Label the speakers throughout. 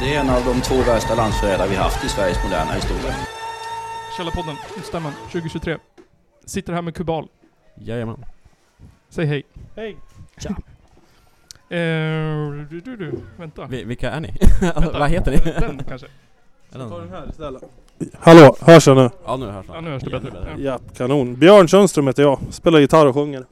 Speaker 1: Det är en av de två värsta landsförrädare vi haft i Sveriges moderna historia.
Speaker 2: Källarpodden, stämman, 2023. Sitter här med Kubal.
Speaker 3: Jajamän.
Speaker 2: Säg hej.
Speaker 4: Hej!
Speaker 2: Eh, du, du, du, vänta.
Speaker 3: Vi, vilka är ni? Alltså,
Speaker 2: vänta.
Speaker 3: Vad heter ni?
Speaker 2: Den kanske.
Speaker 4: Ta den här istället.
Speaker 5: Hallå, hörs jag nu?
Speaker 3: Ja nu hörs
Speaker 2: Ja, nu hörs det bättre. Ja.
Speaker 5: Ja, kanon. Björn Sundström heter jag, spelar gitarr och sjunger.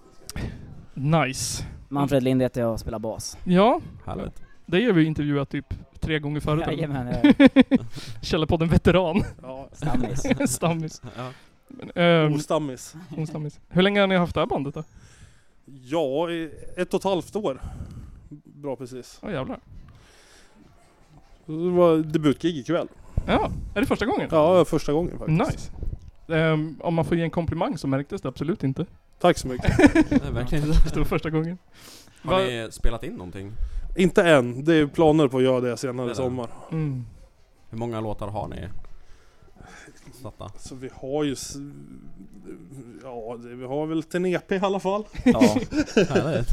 Speaker 2: Nice.
Speaker 6: Manfred Lind heter jag och spelar bas.
Speaker 2: Ja,
Speaker 3: Härligt.
Speaker 2: dig har vi intervjuat typ tre gånger förut. eller?
Speaker 6: Jajamän, jag är
Speaker 2: Källarpodden veteran.
Speaker 6: stammis.
Speaker 2: stammis.
Speaker 3: Ja.
Speaker 2: Men, ehm,
Speaker 5: Ostammis.
Speaker 2: hon stammis. Hur länge har ni haft det här bandet då?
Speaker 5: Ja, i ett och ett halvt år. Bra precis.
Speaker 2: Ja jävlar.
Speaker 5: Det var debutgig ikväll.
Speaker 2: Ja, är det första gången?
Speaker 5: Ja, första gången faktiskt.
Speaker 2: Nice. Ehm, om man får ge en komplimang så märktes det absolut inte.
Speaker 5: Tack så mycket.
Speaker 3: Nej, verkligen.
Speaker 2: Det var första gången.
Speaker 3: Har ni spelat in någonting?
Speaker 5: Inte än, det är planer på att göra det senare i
Speaker 3: Eller?
Speaker 5: sommar.
Speaker 2: Mm.
Speaker 3: Hur många låtar har ni? Satta.
Speaker 5: Så vi har ju... s- Ja, det- vi har väl en EP i alla fall.
Speaker 3: Ja. Härligt.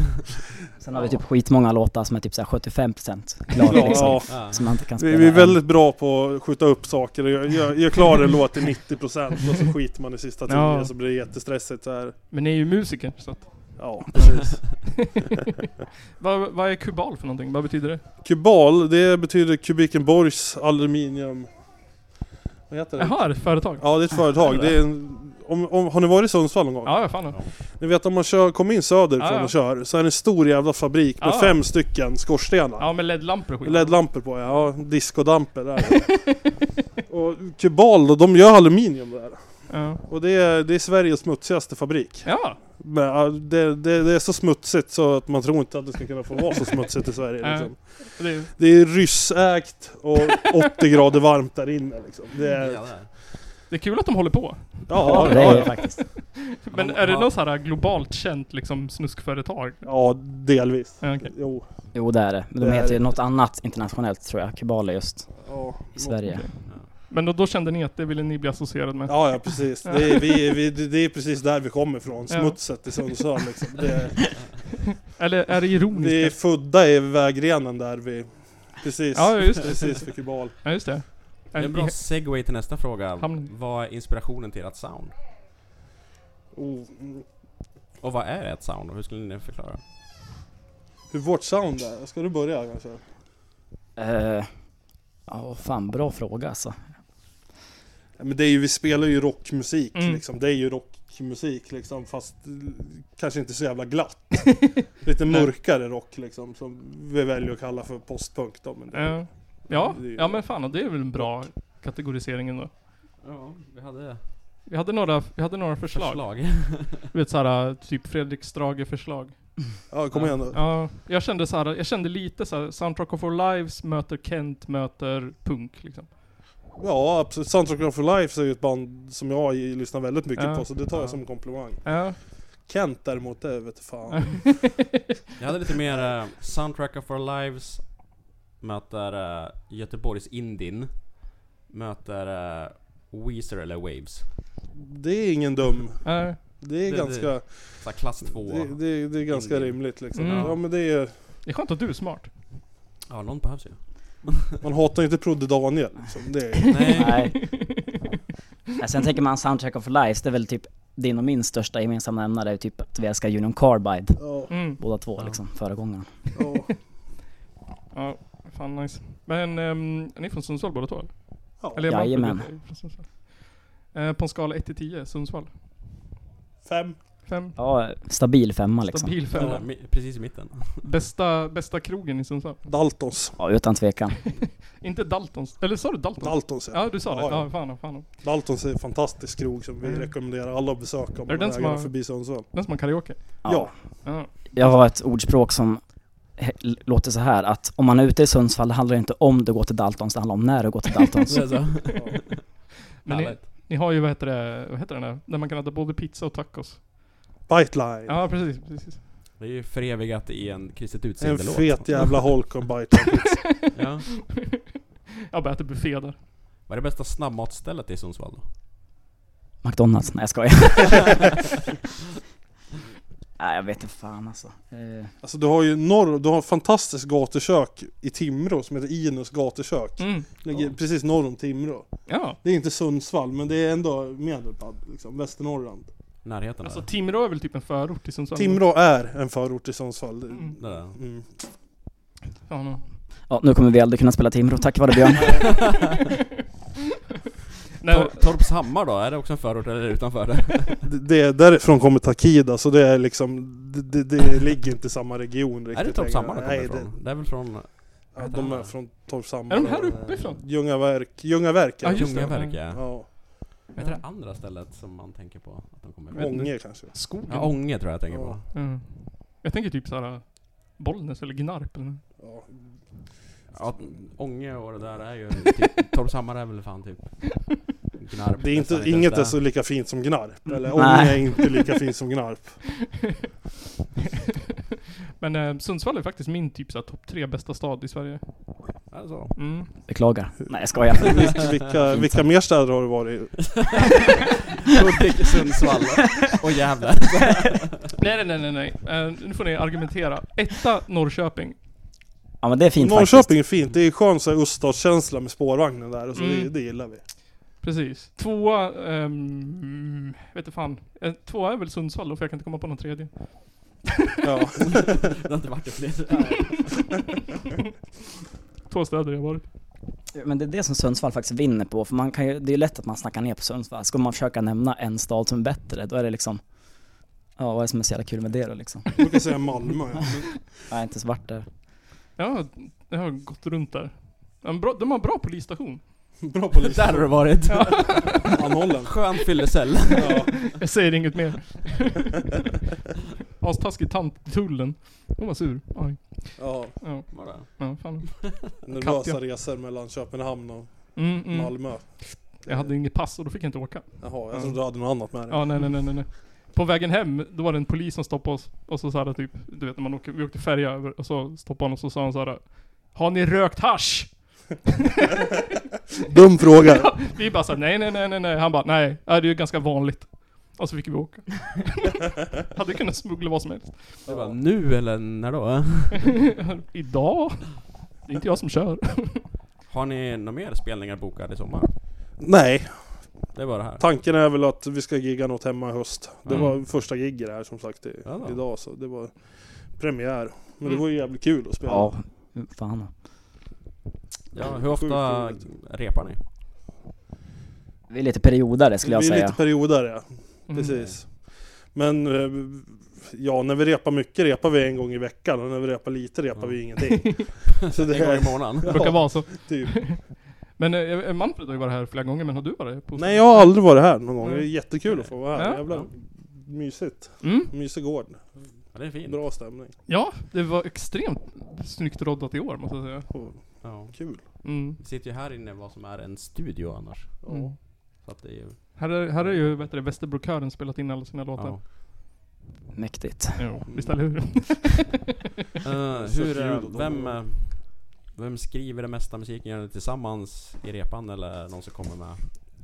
Speaker 6: Sen har vi typ skitmånga låtar som är typ såhär 75% klara liksom.
Speaker 5: Ja,
Speaker 3: Ja.
Speaker 6: Som man inte kan
Speaker 5: vi,
Speaker 6: spela.
Speaker 5: vi är
Speaker 6: än.
Speaker 5: väldigt bra på att skjuta upp saker och göra gör, gör klar en låt till 90% och så skiter man i sista tio
Speaker 2: Ja.
Speaker 5: så blir det jättestressigt så här.
Speaker 2: Men ni är ju musiker så att...
Speaker 5: Ja, precis.
Speaker 2: Vad, vad är kubal för någonting? Vad betyder
Speaker 3: Eh,
Speaker 2: det?
Speaker 5: Kubal, det betyder Kubikenborgs aluminium... Vad heter det?
Speaker 2: Jaha, är det företag?
Speaker 5: Ja, det är ett företag. Det är en, om, om, har ni varit i Sundsvall någon gång?
Speaker 2: Ja, ja fan. Ja.
Speaker 5: Ni vet om man kör, kommer in söderifrån
Speaker 2: Ja, ja.
Speaker 5: och kör, så är det en stor jävla fabrik med
Speaker 2: Ja.
Speaker 5: fem stycken skorstenar.
Speaker 2: ja med LED-lampor och skit.
Speaker 5: LED-lampor på, ja. Diskodamper där. och Kubal då, de gör aluminium där.
Speaker 2: Ja.
Speaker 5: Och det är, det är Sveriges smutsigaste fabrik.
Speaker 2: Ja.
Speaker 5: Men, ja, det, det, det är så smutsigt så att man tror inte att det ska kunna få vara så smutsigt i Sverige.
Speaker 2: Ja.
Speaker 5: Liksom.
Speaker 2: Det är,
Speaker 5: Det är ryssägt och 80 grader varmt där inne liksom. Det är, ja,
Speaker 3: Jävlar.
Speaker 2: det är kul att de håller på.
Speaker 5: ja,
Speaker 6: Ja, det är
Speaker 5: ja,
Speaker 6: det
Speaker 5: ja.
Speaker 6: faktiskt.
Speaker 2: Men är det något så här globalt känt liksom snuskföretag?
Speaker 5: ja delvis.
Speaker 2: Ja, okej.
Speaker 5: Jo.
Speaker 6: Jo det är det. Men de
Speaker 5: Det är
Speaker 6: heter ju
Speaker 5: det.
Speaker 6: något annat internationellt tror jag. Kubal är just
Speaker 5: Ja,
Speaker 6: i Sverige.
Speaker 2: Men då, då kände ni att det ville ni bli associerade med?
Speaker 5: ja, ja precis. Det är, vi, vi, det det är precis där vi kommer ifrån.
Speaker 2: Ja.
Speaker 5: Smutset i Sundsvall liksom. Det, är-
Speaker 2: Eller är det ironiskt?
Speaker 5: vi är födda i vägrenen där vi... Precis.
Speaker 2: Ja, just det.
Speaker 5: Precis för Kubal.
Speaker 2: Ja, just det.
Speaker 3: Det är en bra segway till nästa fråga.
Speaker 2: Hamn-
Speaker 3: Vad är inspirationen till ert sound?
Speaker 5: Oh, mm.
Speaker 3: Och vad är ert sound? Och hur skulle ni förklara?
Speaker 5: hur vårt sound är? Ska du börja kanske?
Speaker 6: Eh, Ja, fan bra fråga alltså.
Speaker 5: Ja, Men det är ju, vi spelar ju rockmusik
Speaker 2: Mm.
Speaker 5: liksom. Det är ju rockmusik liksom fast eh, kanske inte så jävla glatt. Lite mörkare rock liksom som vi väljer att kalla för postpunk då. Men det,
Speaker 2: Ja. eh, Ja,
Speaker 5: Det är ju-
Speaker 2: ja men fan och det är väl en bra kategorisering ändå.
Speaker 3: Ja, vi hade
Speaker 2: Vi hade några, vi hade några förslag. Du vet såhär, typ Fredrik Strage förslag.
Speaker 5: Ja kom igen nu.
Speaker 2: Ja, jag kände såhär, jag kände lite såhär, Soundtrack of Our Lives möter Kent möter punk liksom.
Speaker 5: Ja absolut. Soundtrack for Life är ju ett band som jag ju lyssnar väldigt mycket
Speaker 2: Ja.
Speaker 5: på så det tar
Speaker 3: Ja.
Speaker 5: jag som en komplimang.
Speaker 2: Ja.
Speaker 5: Kent däremot, det vet fan.
Speaker 3: Jag hade lite mer eh, Soundtrack of Our Lives Möter eh, Göteborgs Indin Möter eh, Weezer eller Waves
Speaker 5: Det är ingen dum.
Speaker 2: Ja.
Speaker 5: Det är
Speaker 3: Det-
Speaker 5: ganska,
Speaker 3: Såhär klass 2
Speaker 5: det, det, det är ganska
Speaker 3: Indie.
Speaker 5: rimligt liksom.
Speaker 2: Mm.
Speaker 5: Ja men det är,
Speaker 2: Det är skönt att du är smart.
Speaker 3: Ja, någon behövs ju
Speaker 5: man hatar ju inte Prodde Daniel liksom. Det är,
Speaker 3: Nej,
Speaker 6: Nej. Nej, Sen tänker man Soundtrack of Lives, det är väl typ din och min största gemensamma nämnare är ju typ att vi älskar Union Carbide.
Speaker 5: ja,
Speaker 2: Mm.
Speaker 6: Båda två
Speaker 3: Ja.
Speaker 6: liksom, föregångaren.
Speaker 5: ja.
Speaker 2: Ja, fan nice. Men ehm, är ni från Sundsvall båda två? eller?
Speaker 5: Ja.
Speaker 2: Eller är Manfred
Speaker 6: Jajamän.
Speaker 2: lite från Sundsvall? Eh, på en skala 1 till 10, Sundsvall?
Speaker 5: Fem.
Speaker 2: 5?
Speaker 6: Ja, stabil femma liksom.
Speaker 2: Stabil
Speaker 3: den där
Speaker 2: femma.
Speaker 3: mi- precis i mitten
Speaker 2: Bästa, bästa krogen i Sundsvall?
Speaker 5: Daltons.
Speaker 6: Ja, utan tvekan.
Speaker 2: Inte Daltons, eller sa du Daltons?
Speaker 5: Daltons ja.
Speaker 2: Ja du sa det,
Speaker 5: Ja, ja.
Speaker 2: ja fan, fan.
Speaker 5: Daltons är en fantastisk krog som vi
Speaker 2: Mm.
Speaker 5: rekommenderar alla att besöka om
Speaker 2: Är det
Speaker 5: man
Speaker 2: den som
Speaker 5: vägarna
Speaker 2: har-
Speaker 5: förbi Sundsvall.
Speaker 2: Den som har karaoke?
Speaker 5: Ja.
Speaker 2: Ja.
Speaker 6: Jag har ett ordspråk som he- l- låter så här att om man är ute i Sundsvall det handlar det inte om du går till Daltons, det handlar om när du går till Daltons.
Speaker 3: Det är så
Speaker 2: Men ni,
Speaker 3: Härligt.
Speaker 2: ni har ju vad heter det, vad heter den där? Där man kan äta både pizza och tacos.
Speaker 5: Biteline.
Speaker 2: Ja precis, precis.
Speaker 3: Det är ju förevigat i en kristet
Speaker 5: En
Speaker 3: utseende låt
Speaker 5: fet jävla holkon biteline.
Speaker 3: ja.
Speaker 2: Jag bara äter buffé där.
Speaker 3: Vad är det bästa snabbmatsstället i Sundsvall då?
Speaker 6: McDonalds, nej jag skojar. Nej jag vet inte fan alltså. Eh,
Speaker 5: Alltså du har ju norr, du har ett fantastiskt gatukök i Timrå som heter Inus gatukök.
Speaker 2: Mm.
Speaker 5: Ligger precis norr om Timrå.
Speaker 2: Ja.
Speaker 5: Det är inte Sundsvall men det är ändå Medelpad liksom, Västernorrland.
Speaker 3: Närheten
Speaker 2: Alltså
Speaker 3: där.
Speaker 2: Timrå är väl typ en förort till Sundsvall?
Speaker 5: Timrå är en förort till Sundsvall. Det-
Speaker 2: Mm.
Speaker 3: där. är den.
Speaker 5: Mm.
Speaker 2: Ja, no.
Speaker 6: ja nu kommer vi aldrig kunna spela Timrå, tack vare Björn.
Speaker 2: Nej,
Speaker 3: Tor- Torpshammar då, är det också en förort eller är det utanför det?
Speaker 5: Det, det är därifrån kommer Takida så det är liksom, det, det, det ligger inte i samma region riktigt.
Speaker 3: är det Torpshammar de
Speaker 5: längre.
Speaker 3: kommer
Speaker 5: Nej,
Speaker 3: ifrån?
Speaker 5: det,
Speaker 3: Det är väl från
Speaker 5: ja, de är från Torpshammar.
Speaker 2: är de här uppifrån?
Speaker 5: Ljungaverk, Ljungaverk är
Speaker 2: Ja,
Speaker 5: de.
Speaker 2: just det.
Speaker 3: Ljungaverk ja.
Speaker 5: Ja,
Speaker 3: Vad heter det andra stället som man tänker på att de kommer ifrån?
Speaker 5: Ånge kanske.
Speaker 2: Skogen?
Speaker 3: Ja, Ånge tror jag jag tänker på.
Speaker 5: Ja.
Speaker 2: Mm. Jag tänker typ såhär Bollnäs eller Gnarp eller nåt.
Speaker 5: Ja.
Speaker 3: Ja, Ånge och det där är ju typ, Torpshammar är väl fan typ Gnarp
Speaker 5: Det är inte,
Speaker 3: nästan
Speaker 5: inget är
Speaker 3: ens
Speaker 5: så lika fint som Gnarp,
Speaker 2: Mm.
Speaker 5: eller
Speaker 6: Nej.
Speaker 5: Ånge är inte lika fint som Gnarp.
Speaker 2: Men eh, Sundsvall är faktiskt min typ såhär topp tre bästa stad i Sverige.
Speaker 3: där. Alltså.
Speaker 2: Mm.
Speaker 6: Beklagar. Nej jag skojar.
Speaker 5: Vilka, vilka, vilka mer städer har du varit i?
Speaker 3: Hudik, Sundsvall och Gävle.
Speaker 2: Nej, nej, nej, nej, nej. Eh, nu får ni argumentera. Etta Norrköping.
Speaker 6: Ja men det är fint faktiskt.
Speaker 5: Norrköping är fint, det är skön så här öststatskänsla med spårvagnen där och så
Speaker 2: Mm.
Speaker 5: det, det gillar vi.
Speaker 2: Precis. Tvåa, ehm, vet inte fan. Eh, Tvåa är väl Sundsvall då, för jag kan inte komma på någon tredje.
Speaker 5: Ja.
Speaker 3: Det har inte varit det fler.
Speaker 2: Två städer jag varit.
Speaker 6: Men det är det som Sundsvall faktiskt vinner på, för man kan ju, det är ju lätt att man snackar ner på Sundsvall. Ska man försöka nämna en stad som är bättre, då är det liksom Ja, vad är det som är så jävla kul med det då liksom?
Speaker 5: Jag brukar säga Malmö. Ja.
Speaker 6: Jag har inte ens varit där.
Speaker 2: Ja, jag har gått runt där. En bra, de har bra polisstation.
Speaker 5: Bra polis.
Speaker 3: Där har du varit.
Speaker 5: Anhållen.
Speaker 3: Skön fyllecell.
Speaker 5: Ja.
Speaker 2: Jag säger inget mer. Astaskig tant i tullen. Hon var sur. Aj.
Speaker 5: Ja.
Speaker 2: Ja,
Speaker 3: Var det?
Speaker 2: ja, fan.
Speaker 5: Nervösa resor mellan Köpenhamn och
Speaker 2: Mm, mm.
Speaker 5: Malmö.
Speaker 2: Jag hade inget pass och då fick jag inte åka.
Speaker 5: Jaha, jag trodde du hade något annat med dig.
Speaker 2: Mm. Ja, nej, nej, nej, nej, nej. På vägen hem, då var det en polis som stoppade oss och så sa typ, du vet när man åker, vi åkte färja över och så stoppade han och så sa han så här. Har ni rökt hasch?
Speaker 5: Dum fråga.
Speaker 2: Vi bara såhär, nej, nej, nej, nej, nej. Han bara, nej, äh, det är ju ganska vanligt. Och så fick vi åka. Hade kunnat smuggla vad som helst.
Speaker 3: Du bara, nu eller när då?
Speaker 2: Idag? Det är inte jag som kör.
Speaker 3: Har ni några mer spelningar bokade i sommar?
Speaker 5: Nej,
Speaker 3: Det är bara det här.
Speaker 5: tanken är väl att vi ska gigga något hemma i höst. Det
Speaker 3: Mm.
Speaker 5: var första gigget här som sagt i,
Speaker 3: Ja då.
Speaker 5: idag så det var premiär. Men det
Speaker 2: Mm.
Speaker 5: var ju jävligt kul att spela.
Speaker 6: Ja, fan.
Speaker 3: Ja, hur ofta
Speaker 5: Sjukt
Speaker 3: repar ni?
Speaker 6: Vi är lite periodare skulle jag
Speaker 5: vi är
Speaker 6: säga.
Speaker 5: lite perioder ja.
Speaker 2: Mm.
Speaker 5: Precis. Men eh, ja, när vi repar mycket repar vi en gång i veckan och när vi repar lite repar
Speaker 3: Ja.
Speaker 5: vi ingenting. Så det
Speaker 3: En gång i
Speaker 5: är
Speaker 2: Det
Speaker 3: månaden?
Speaker 2: brukar vara så.
Speaker 5: typ.
Speaker 2: Men eh, Manfred har ju varit här flera gånger, men har du varit här? På
Speaker 5: Nej jag har aldrig varit här någon gång. Det är
Speaker 2: Nej.
Speaker 5: jättekul att få vara här.
Speaker 2: Ja.
Speaker 5: Jävla
Speaker 3: Ja.
Speaker 5: mysigt.
Speaker 2: Mm.
Speaker 5: Mysig gård.
Speaker 3: Ja, det är fint.
Speaker 5: Bra stämning.
Speaker 2: Ja, det var extremt snyggt roddat i år måste jag säga.
Speaker 5: Och
Speaker 3: Ja.
Speaker 5: kul.
Speaker 2: Mm.
Speaker 3: Vi sitter ju här inne i vad som är en studio annars.
Speaker 2: Mm.
Speaker 3: Så att det är ju...
Speaker 2: Här är, här är ju vet du, Västerbrokören spelat in alla sina låtar.
Speaker 3: Ja.
Speaker 6: Mäktigt.
Speaker 2: Jo, visst eller hur?
Speaker 3: Eh,
Speaker 5: Så
Speaker 3: hur,
Speaker 5: ljud och
Speaker 3: eh,
Speaker 5: de-
Speaker 3: vem, eh, vem skriver det mesta musiken? Gör ni det tillsammans i repan eller någon som kommer med?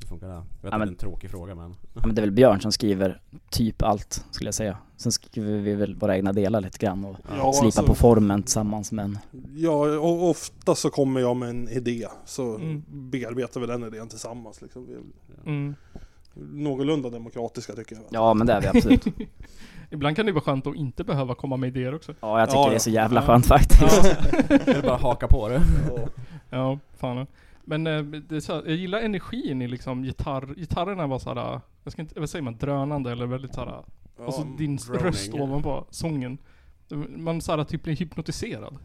Speaker 3: Hur funkar det? Jag vet att det är
Speaker 6: men-
Speaker 3: en tråkig fråga men...
Speaker 6: Ja, men det är väl Björn som skriver typ allt, skulle jag säga. Sen skriver vi väl våra egna delar lite grann och
Speaker 5: Ja,
Speaker 6: slipar
Speaker 5: alltså,
Speaker 6: på formen tillsammans men...
Speaker 5: ja, och ofta så kommer jag med en idé så
Speaker 2: Mm.
Speaker 5: bearbetar vi den idén tillsammans. Liksom. Vi är
Speaker 2: Mm.
Speaker 5: någorlunda demokratiska tycker jag.
Speaker 6: Ja men det är vi absolut.
Speaker 2: Ibland kan det vara skönt att inte behöva komma med idéer också.
Speaker 6: Ja jag tycker
Speaker 5: Ja,
Speaker 6: det är
Speaker 5: ja.
Speaker 6: så jävla
Speaker 2: Ja.
Speaker 6: skönt faktiskt.
Speaker 3: Eller bara haka på det.
Speaker 5: Ja.
Speaker 2: Ja, fan. ja. Men eh, det är så här, jag gillar energin i liksom gitarr. Gitarrerna var såhär, jag ska inte, vad säger man, drönande eller väldigt såhär.
Speaker 5: Ja, mm,
Speaker 2: och så din
Speaker 3: droning.
Speaker 2: röst ovanpå sången. Man såhär typ blir hypnotiserad.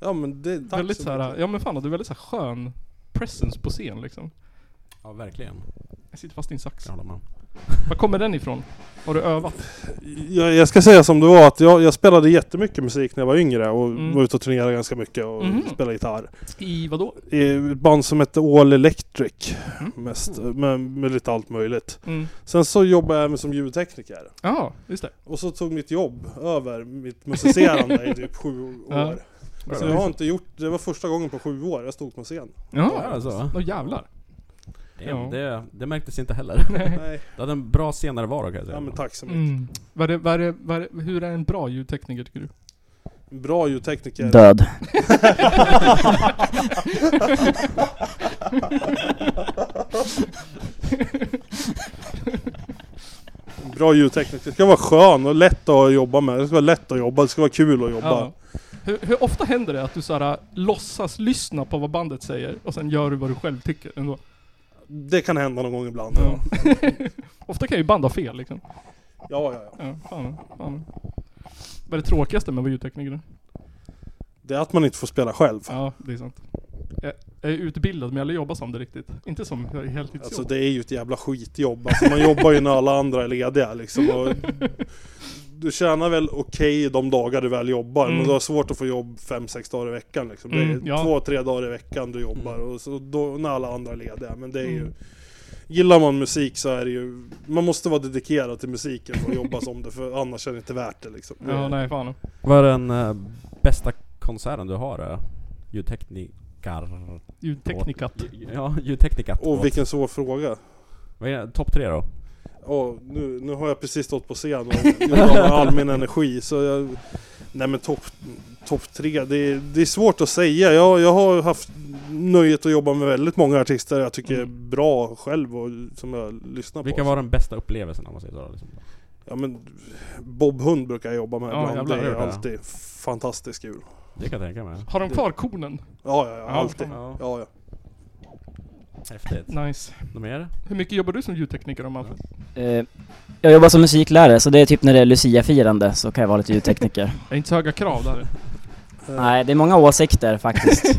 Speaker 5: ja men det, tack
Speaker 2: väldigt
Speaker 5: så
Speaker 2: såhär,
Speaker 5: mycket.
Speaker 2: ja men fan du är väldigt såhär skön presence på scen liksom.
Speaker 3: Ja verkligen.
Speaker 2: Jag sitter fast i en sax.
Speaker 3: Jag håller med.
Speaker 2: Var kommer den ifrån? Har du övat?
Speaker 5: jag, jag ska säga som det var att jag, jag spelade jättemycket musik när jag var yngre och
Speaker 2: Mm.
Speaker 5: var ute och turnerade ganska mycket och
Speaker 2: Mhm.
Speaker 5: spelade gitarr.
Speaker 2: I vadå?
Speaker 5: I ett band som hette All Electric
Speaker 2: Mm.
Speaker 5: mest, med, med lite allt möjligt.
Speaker 2: Mm.
Speaker 5: Sen så jobbade jag även som ljudtekniker.
Speaker 2: Ja, just det.
Speaker 5: Och så tog mitt jobb över mitt musicerande i typ sju
Speaker 2: Ja.
Speaker 5: år. Alltså, Så jag har inte gjort, det var första gången på sju år jag stod på scen.
Speaker 2: Ja,
Speaker 3: Ja, alltså.
Speaker 2: Åh jävlar.
Speaker 3: Det,
Speaker 2: Ja.
Speaker 3: det, det märktes inte heller.
Speaker 5: Nej,
Speaker 3: Det hade en bra senare varo kan jag säga.
Speaker 5: ja, men tack så mycket.
Speaker 2: Mm. Vad är, det- vad är, det- vad är, det- hur är en bra ljudtekniker tycker du? Mm.
Speaker 5: Bra ljudtekniker.
Speaker 6: Död.
Speaker 5: Bra ljudtekniker. Det ska vara skön och lätt att jobba med. Det ska vara lätt att jobba, det ska vara kul att jobba.
Speaker 2: Ja. Hur, hur ofta händer det att du såhär låtsas lyssna på vad bandet säger och sen gör du vad du själv tycker ändå?
Speaker 5: Det kan hända någon gång ibland. Ja,
Speaker 2: Ja. ofta kan ju band ha fel liksom.
Speaker 5: ja, ja. ja.
Speaker 2: Ja, fan, fan. Vad är det tråkigaste med att vara ljudtekniker?
Speaker 5: Det är att man inte får spela själv.
Speaker 2: Ja, det är sant. Jag jag är utbildad men jag har aldrig jobbat som det riktigt. Inte som heltidsjobb.
Speaker 5: Alltså det är ju ett jävla skitjobb. Alltså, man jobbar ju när alla andra är lediga liksom. Och du tjänar väl okej de dagar du väl jobbar,
Speaker 2: Mm.
Speaker 5: men du har svårt att få jobb fem sex dagar i veckan. Liksom. Det är
Speaker 2: Mm, ja.
Speaker 5: två, tre dagar i veckan du jobbar, och så då, när alla andra är lediga. Men det är ju...
Speaker 2: Mm.
Speaker 5: Gillar man musik så är det ju... Man måste vara dedikerad till musiken för att jobba som det, för annars är det inte värt det liksom. Det-
Speaker 2: Ja, nej fan.
Speaker 3: Vad är den eh, bästa konserten du har? eh, Ljudteknikar...
Speaker 2: Ljudteknikat.
Speaker 3: Ja, ljudteknikat.
Speaker 5: Åh, vilken svår fråga.
Speaker 3: Vad är det? Topp tre då?
Speaker 5: Ja, nu, nu har jag precis stått på scen och gjort av med all min energi så jag... Nej men topp top tre, det är, det är svårt att säga. Jag, jag har haft nöjet att jobba med väldigt många artister jag tycker är bra själv och som jag lyssnar
Speaker 3: Vilken
Speaker 5: på.
Speaker 3: var den bästa upplevelsen om man säger så? Liksom?
Speaker 5: Ja men Bob Hund brukar jag jobba med
Speaker 2: Ja,
Speaker 5: ibland.
Speaker 2: jävlar,
Speaker 5: det
Speaker 3: det
Speaker 5: är
Speaker 3: är det.
Speaker 5: alltid fantastiskt kul.
Speaker 3: Det kan jag tänka mig.
Speaker 2: Har de kvar konen?
Speaker 5: Ja, ja, ja, alltid.
Speaker 3: Ja,
Speaker 5: Ja, ja.
Speaker 3: häftigt.
Speaker 2: Nice.
Speaker 3: Något mer?
Speaker 2: Hur mycket jobbar du som ljudtekniker om Manfred?
Speaker 6: Eh, Jag jobbar som musiklärare, så det är typ när det är Lucia-firande så kan jag vara lite ljudtekniker.
Speaker 2: Det är inte så höga krav där.
Speaker 6: Nej, det är många åsikter faktiskt.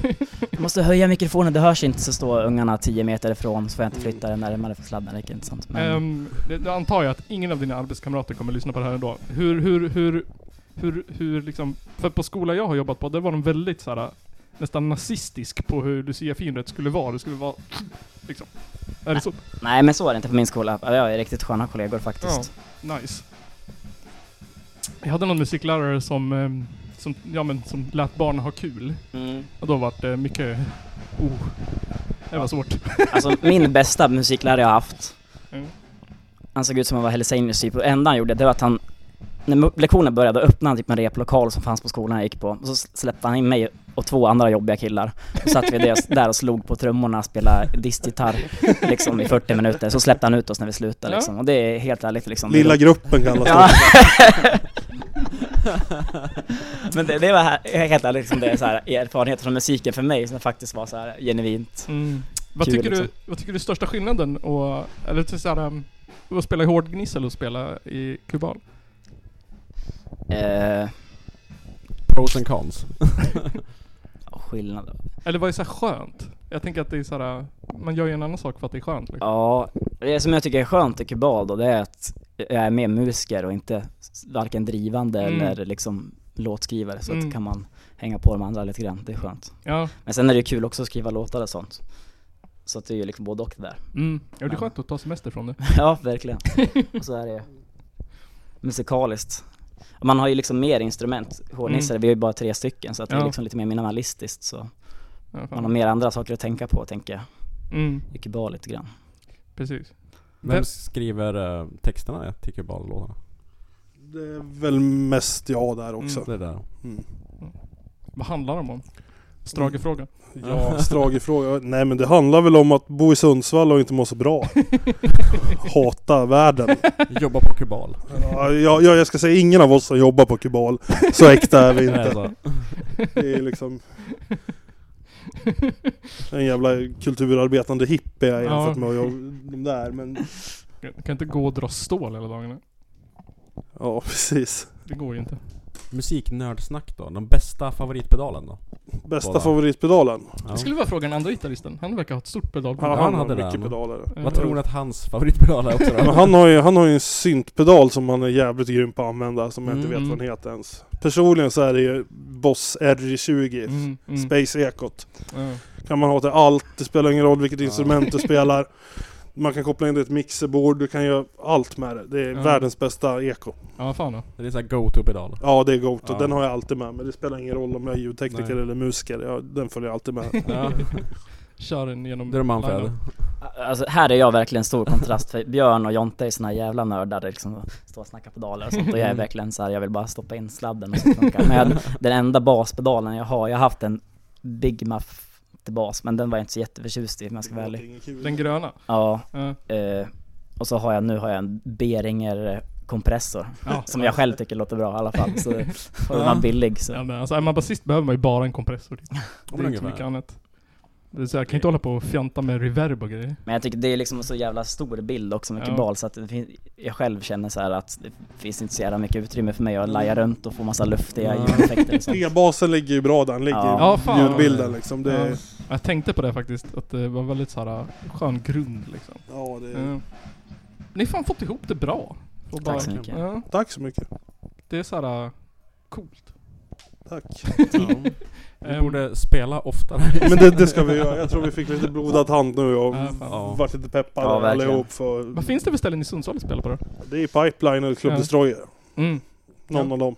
Speaker 6: Jag måste höja mikrofonen, det hörs inte så står ungarna 10 meter ifrån så får jag inte flytta den närmare för sladden räcker inte sant. Men
Speaker 2: Ehm, det- Nu antar jag att ingen av dina arbetskamrater kommer lyssna på det här ändå. Hur, hur, hur, hur, hur liksom... För på skolan jag har jobbat på, där var de väldigt såhär nästan nazistisk på hur luciafirandet skulle vara. Det skulle vara... Liksom. Är det så?
Speaker 6: nej men så är det inte på min skola. Ja, Jag är riktigt sköna kollegor faktiskt.
Speaker 2: Nice. Jag hade någon musiklärare som, ehm, som, ja, men, som lät barnen ha kul.
Speaker 6: Mm.
Speaker 2: Och då vart det mycket... Oh. Det var svårt.
Speaker 6: Alltså min bästa musiklärare jag har haft.
Speaker 2: Mm.
Speaker 6: Han såg ut som han var Hells typ och det enda han gjorde det var att han när mo- lektionen började öppnade han typ en replokal som fanns på skolan jag gick på och så släppte han in mig och två andra jobbiga killar. Och satt vi där- där och slog på trummorna, spelade distgitarr liksom i 40 minuter. Så släppte han ut oss när vi slutade
Speaker 2: Ja.
Speaker 6: liksom. Och det är helt ärligt liksom.
Speaker 5: Lilla gruppen kallas
Speaker 6: Ja.
Speaker 5: det.
Speaker 6: Men det, det var här, helt ärligt liksom, det är så här erfarenheter från musiken för mig som faktiskt var så här genuint.
Speaker 2: Mm. Vad,
Speaker 6: Kul,
Speaker 2: tycker du,
Speaker 6: liksom.
Speaker 2: vad tycker du är största skillnaden och, eller till så här, um, att spela i hårdgnissel och spela i kubal?
Speaker 6: Eh,
Speaker 3: Pros and cons.
Speaker 6: skillnad.
Speaker 2: Eller vad är så här skönt? Jag tänker att det är så här, uh, man gör ju en annan sak för att det är skönt. Liksom.
Speaker 6: Ja, det som jag tycker är skönt i Kubal då, det är att jag är med musiker och inte s- varken drivande
Speaker 2: Mm.
Speaker 6: eller liksom låtskrivare. Så
Speaker 2: Mm.
Speaker 6: att kan man hänga på de andra lite grann, det är skönt.
Speaker 2: Ja.
Speaker 6: Men sen är det ju kul också att skriva låtar och sånt. Så att det är ju liksom både och det där.
Speaker 2: Mm. ja, det är
Speaker 6: Ja.
Speaker 2: skönt att ta semester från det.
Speaker 6: ja, verkligen. Och så är det ju musikaliskt. Man har ju liksom mer instrument, hårdnissare, vi har ju bara tre stycken så att det
Speaker 2: Mm. Ja.
Speaker 6: är liksom lite mer minimalistiskt så
Speaker 2: Ja, fan.
Speaker 6: man har mer andra saker att tänka på tänker jag,
Speaker 2: Mm,
Speaker 6: i Kubal lite grann.
Speaker 2: precis. Vem-
Speaker 3: Vem skriver eh, texterna till Kubal-låtarna?
Speaker 5: Det är väl mest jag där också.
Speaker 3: Det där.
Speaker 5: Mm.
Speaker 2: Vad handlar de om? Stragefråga.
Speaker 5: Ja, stragig fråga. Nej men det handlar väl om att bo i Sundsvall och inte må så bra. Hata världen.
Speaker 3: Jobba på Kubal.
Speaker 5: Ja, jag, jag jag ska säga ingen av oss som jobbar på Kubal. Så äkta är vi
Speaker 3: Det är
Speaker 5: inte.
Speaker 3: så.
Speaker 5: Det är liksom... En jävla kulturarbetande hippie jag jämfört med jag, de där men...
Speaker 2: Jag kan inte gå och dra stål hela dagarna.
Speaker 5: Ja precis.
Speaker 2: Det går ju inte.
Speaker 3: Musiknördsnack då. De bästa favoritpedalen då?
Speaker 5: Bästa
Speaker 3: Kolla.
Speaker 5: favoritpedalen?
Speaker 3: Ja.
Speaker 2: Jag skulle vilja fråga den andra gitarristen. Han verkar ha ett stort pedalbord.
Speaker 5: Han, han,
Speaker 3: han
Speaker 5: har
Speaker 3: hade
Speaker 5: mycket
Speaker 3: den.
Speaker 5: pedaler.
Speaker 2: Eh,
Speaker 3: Vad tror ni att hans favoritpedal är också då?
Speaker 5: Men han har ju, han har ju en syntpedal som han är jävligt grym på att använda som jag inte
Speaker 2: Mm.
Speaker 5: vet vad den heter ens. Personligen så är det ju Boss RJ20.
Speaker 2: Mm, mm,
Speaker 5: Space Ekot.
Speaker 2: ja.
Speaker 5: Kan man ha till allt, det spelar ingen roll vilket instrument du spelar. Man kan koppla in det i ett mixerbord, du kan göra allt med det. Det är
Speaker 2: Ja.
Speaker 5: världens bästa eko.
Speaker 2: ja, fan då.
Speaker 3: Det är såhär go-to-pedal.
Speaker 5: Ja det är Goat och
Speaker 3: Ja.
Speaker 5: den har jag alltid med mig. Det spelar ingen roll om jag är ljudtekniker
Speaker 3: Nej.
Speaker 5: eller musiker, jag, den följer jag alltid med.
Speaker 3: Ja.
Speaker 2: Kör den genom...
Speaker 3: Det är Manfred.
Speaker 2: linan.
Speaker 6: Alltså här är jag verkligen stor kontrast för Björn och Jonte är såna jävla nördar liksom och Står och snackar pedaler och sånt och jag är verkligen så här, jag vill bara stoppa in sladden och sånt funkar. Men jag, den enda baspedalen jag har, jag har haft en Big Muff till bas men den var jag inte så jätteförtjust i om jag ska vara ärlig.
Speaker 2: Den gröna.
Speaker 6: Ja,
Speaker 2: Ja.
Speaker 6: eh, och så har jag, nu har jag en Beringer kompressor
Speaker 2: Ja.
Speaker 6: som jag själv tycker låter bra i alla fall så och den
Speaker 3: Ja.
Speaker 6: var billig så.
Speaker 2: Ja, men alltså är man basist behöver man ju bara en kompressor. Det
Speaker 3: men
Speaker 2: är inte så
Speaker 3: ungefär.
Speaker 2: mycket annat. Det är så här, jag kan inte hålla på och fjanta med reverb och grejer.
Speaker 6: Men jag tycker det är liksom en så jävla stor bild också, mycket
Speaker 2: Ja.
Speaker 6: bal så att det fin- jag själv känner så här att det finns inte så jävla mycket utrymme för mig att laja runt och få massa luftiga
Speaker 5: Ja.
Speaker 6: ljudeffekter liksom.
Speaker 5: E-basen ligger ju bra där den ligger
Speaker 6: Ja.
Speaker 2: Ja,
Speaker 5: i
Speaker 2: fan.
Speaker 5: ljudbilden liksom. Det,
Speaker 2: Ja. Jag tänkte på det faktiskt, att det var väldigt så här skön grund liksom.
Speaker 5: ja, det,
Speaker 2: Ja. Ni har fan fått ihop det bra. Och
Speaker 6: Tack så mycket.
Speaker 2: Ja,
Speaker 5: Tack så mycket.
Speaker 2: det är så här coolt.
Speaker 5: Tack.
Speaker 3: Vi
Speaker 2: Ehm,
Speaker 3: borde spela oftare.
Speaker 5: Men det, det ska vi göra. Jag tror vi fick lite blodad hand nu och
Speaker 2: Ja, fan.
Speaker 3: Ja.
Speaker 5: vart lite peppade
Speaker 6: Ja, verkligen.
Speaker 5: allihop. För
Speaker 2: Vad finns det för ställen i Sundsvall att spela på då?
Speaker 5: det är Pipeline och Club
Speaker 2: Ja.
Speaker 5: Destroyer.
Speaker 2: Mm.
Speaker 5: Någon
Speaker 2: Ja.
Speaker 5: av dem.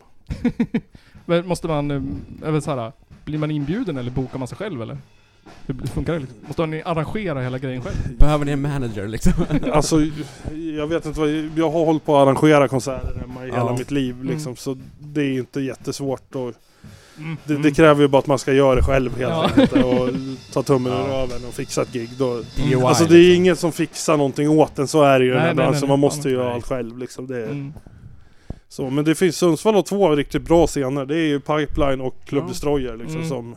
Speaker 2: Men måste man, eh, är väl så här, blir man inbjuden eller bokar man sig själv eller? Hur blir- funkar det liksom? Måste ni arrangera hela grejen själv?
Speaker 3: Behöver ni en manager liksom?
Speaker 5: Alltså, jag vet inte vad, jag har hållit på att arrangera konserter hemma i
Speaker 3: Ja.
Speaker 5: hela mitt liv liksom, så det är inte jättesvårt. Och
Speaker 2: Mm.
Speaker 5: det, det kräver ju bara att man ska göra det själv helt
Speaker 2: Ja.
Speaker 5: enkelt och ta tummen ur
Speaker 3: Ja.
Speaker 5: röven och fixa ett gig. Då,
Speaker 3: DIY,
Speaker 5: alltså det är ingen som fixar någonting åt en, så är det ju i den
Speaker 2: liksom. Nej, nej, nej,
Speaker 5: här branschen.
Speaker 2: nej,
Speaker 5: Man måste
Speaker 2: fan,
Speaker 5: ju
Speaker 3: nej.
Speaker 5: göra allt själv liksom. Det är,
Speaker 2: Mm.
Speaker 5: så, men det finns, Sundsvall har två riktigt bra scener. Det är ju Pipeline och Club
Speaker 3: Ja.
Speaker 5: Destroyer liksom
Speaker 2: Mm.
Speaker 5: som,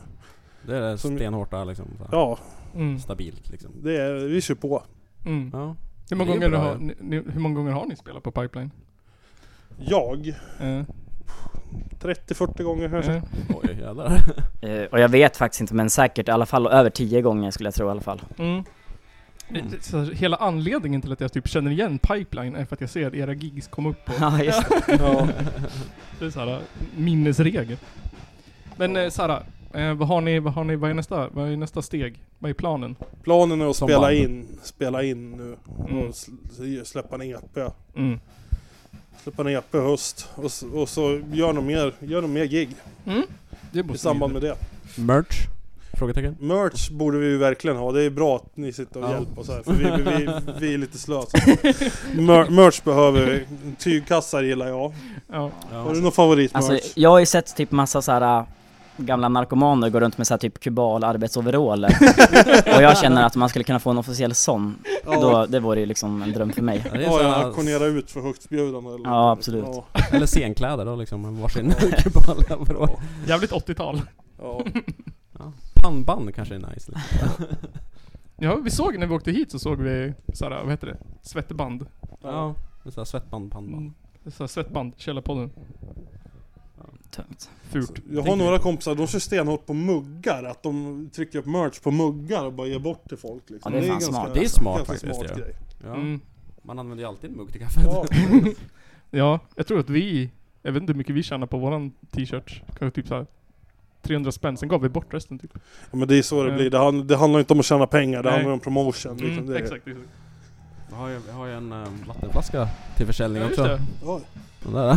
Speaker 3: Det är
Speaker 5: Som-
Speaker 3: stenhårt där liksom. Så här.
Speaker 5: ja,
Speaker 2: Mm.
Speaker 3: Stabilt liksom.
Speaker 5: det är, vi kör på.
Speaker 2: Mm.
Speaker 3: Ja.
Speaker 2: Hur, många
Speaker 3: Det är
Speaker 2: gånger
Speaker 3: bra,
Speaker 2: har,
Speaker 3: ja.
Speaker 2: ni, ni- hur många gånger har ni spelat på Pipeline?
Speaker 5: Jag,
Speaker 2: Eh,
Speaker 5: 30-40 gånger kanske.
Speaker 2: eh.
Speaker 3: Oj jävlar.
Speaker 6: Eh, och jag vet faktiskt inte men säkert i alla fall över tio gånger skulle jag tro i alla fall.
Speaker 2: Mm. Det- det- Så här, hela anledningen till att jag typ känner igen Pipeline är för att jag ser era gigs komma upp på
Speaker 6: Ja, just det.
Speaker 5: Ja.
Speaker 2: det är så här, eh, minnesregel. Men eh, Sara, eh, vad har ni, vad har ni, vad är nästa, vad är nästa steg? Vad är planen?
Speaker 5: Planen är att
Speaker 3: Som
Speaker 5: spela
Speaker 3: band.
Speaker 5: in, spela in nu
Speaker 2: Mm.
Speaker 5: och sl- släppa en EP.
Speaker 2: Mm.
Speaker 5: Släppa en EP i höst och, s- och så gör de mer, gör de mer gig
Speaker 2: Det måste
Speaker 5: i samband med det.
Speaker 3: Merch? Frågetecken?
Speaker 5: Merch borde vi ju verkligen ha, det är bra att ni sitter och
Speaker 3: Ja.
Speaker 5: hjälper oss här för vi, vi, vi, vi är lite slösa. Mer, merch behöver vi, tygkassar gillar jag.
Speaker 2: Ja.
Speaker 5: Har du någon favoritmerch?
Speaker 6: Alltså jag har ju sett typ massa så här äh, gamla narkomaner gå runt med så här typ kubal arbetsoveraller. och jag känner att man skulle kunna få en officiell sån. Då, det vore ju liksom en dröm för mig.
Speaker 3: Ja, det är
Speaker 5: Ja,
Speaker 3: så
Speaker 5: jag
Speaker 3: här-
Speaker 5: auktionerar ut för högstbjudande eller
Speaker 6: Ja, absolut.
Speaker 5: Ja,
Speaker 3: Eller scenkläder då liksom, varsin kubala overall.
Speaker 2: Jävligt 80-tal.
Speaker 5: ja.
Speaker 3: Pannband kanske är nice. Liksom.
Speaker 2: Ja, vi såg när vi åkte hit så såg vi såhär, vad heter det? Svettband.
Speaker 3: Ja, med så här svettband,
Speaker 2: Mm.
Speaker 3: pannband.
Speaker 2: Så här, svettband, Källarpodden.
Speaker 6: Tungt.
Speaker 2: Fult.
Speaker 5: Jag har några kompisar, de kör stenhårt på muggar, att de trycker upp merch på muggar och bara ger bort till folk liksom.
Speaker 6: Ja, det är fan smart.
Speaker 3: Det är smart
Speaker 5: ganska
Speaker 3: faktiskt,
Speaker 5: smart
Speaker 3: ja.
Speaker 5: grej.
Speaker 3: Ja.
Speaker 2: Mm.
Speaker 3: Man använder ju alltid en mugg till kaffet.
Speaker 5: Ja.
Speaker 2: Ja, jag tror att vi, jag vet inte hur mycket vi tjänar på våran t-shirt. Kanske typ såhär 300 spänn, sen gav vi bort resten typ.
Speaker 5: Ja, men det är så det
Speaker 2: Mm.
Speaker 5: blir, det, hand, det handlar inte om att tjäna pengar, det
Speaker 2: Nej.
Speaker 5: handlar om promotion. Liksom.
Speaker 2: Mm,
Speaker 5: det är,
Speaker 2: exakt, exakt.
Speaker 3: Jag har ju, jag har ju en um, vattenflaska till försäljning
Speaker 2: Ja, just
Speaker 3: också.
Speaker 2: det.
Speaker 5: Ja,
Speaker 3: Den där.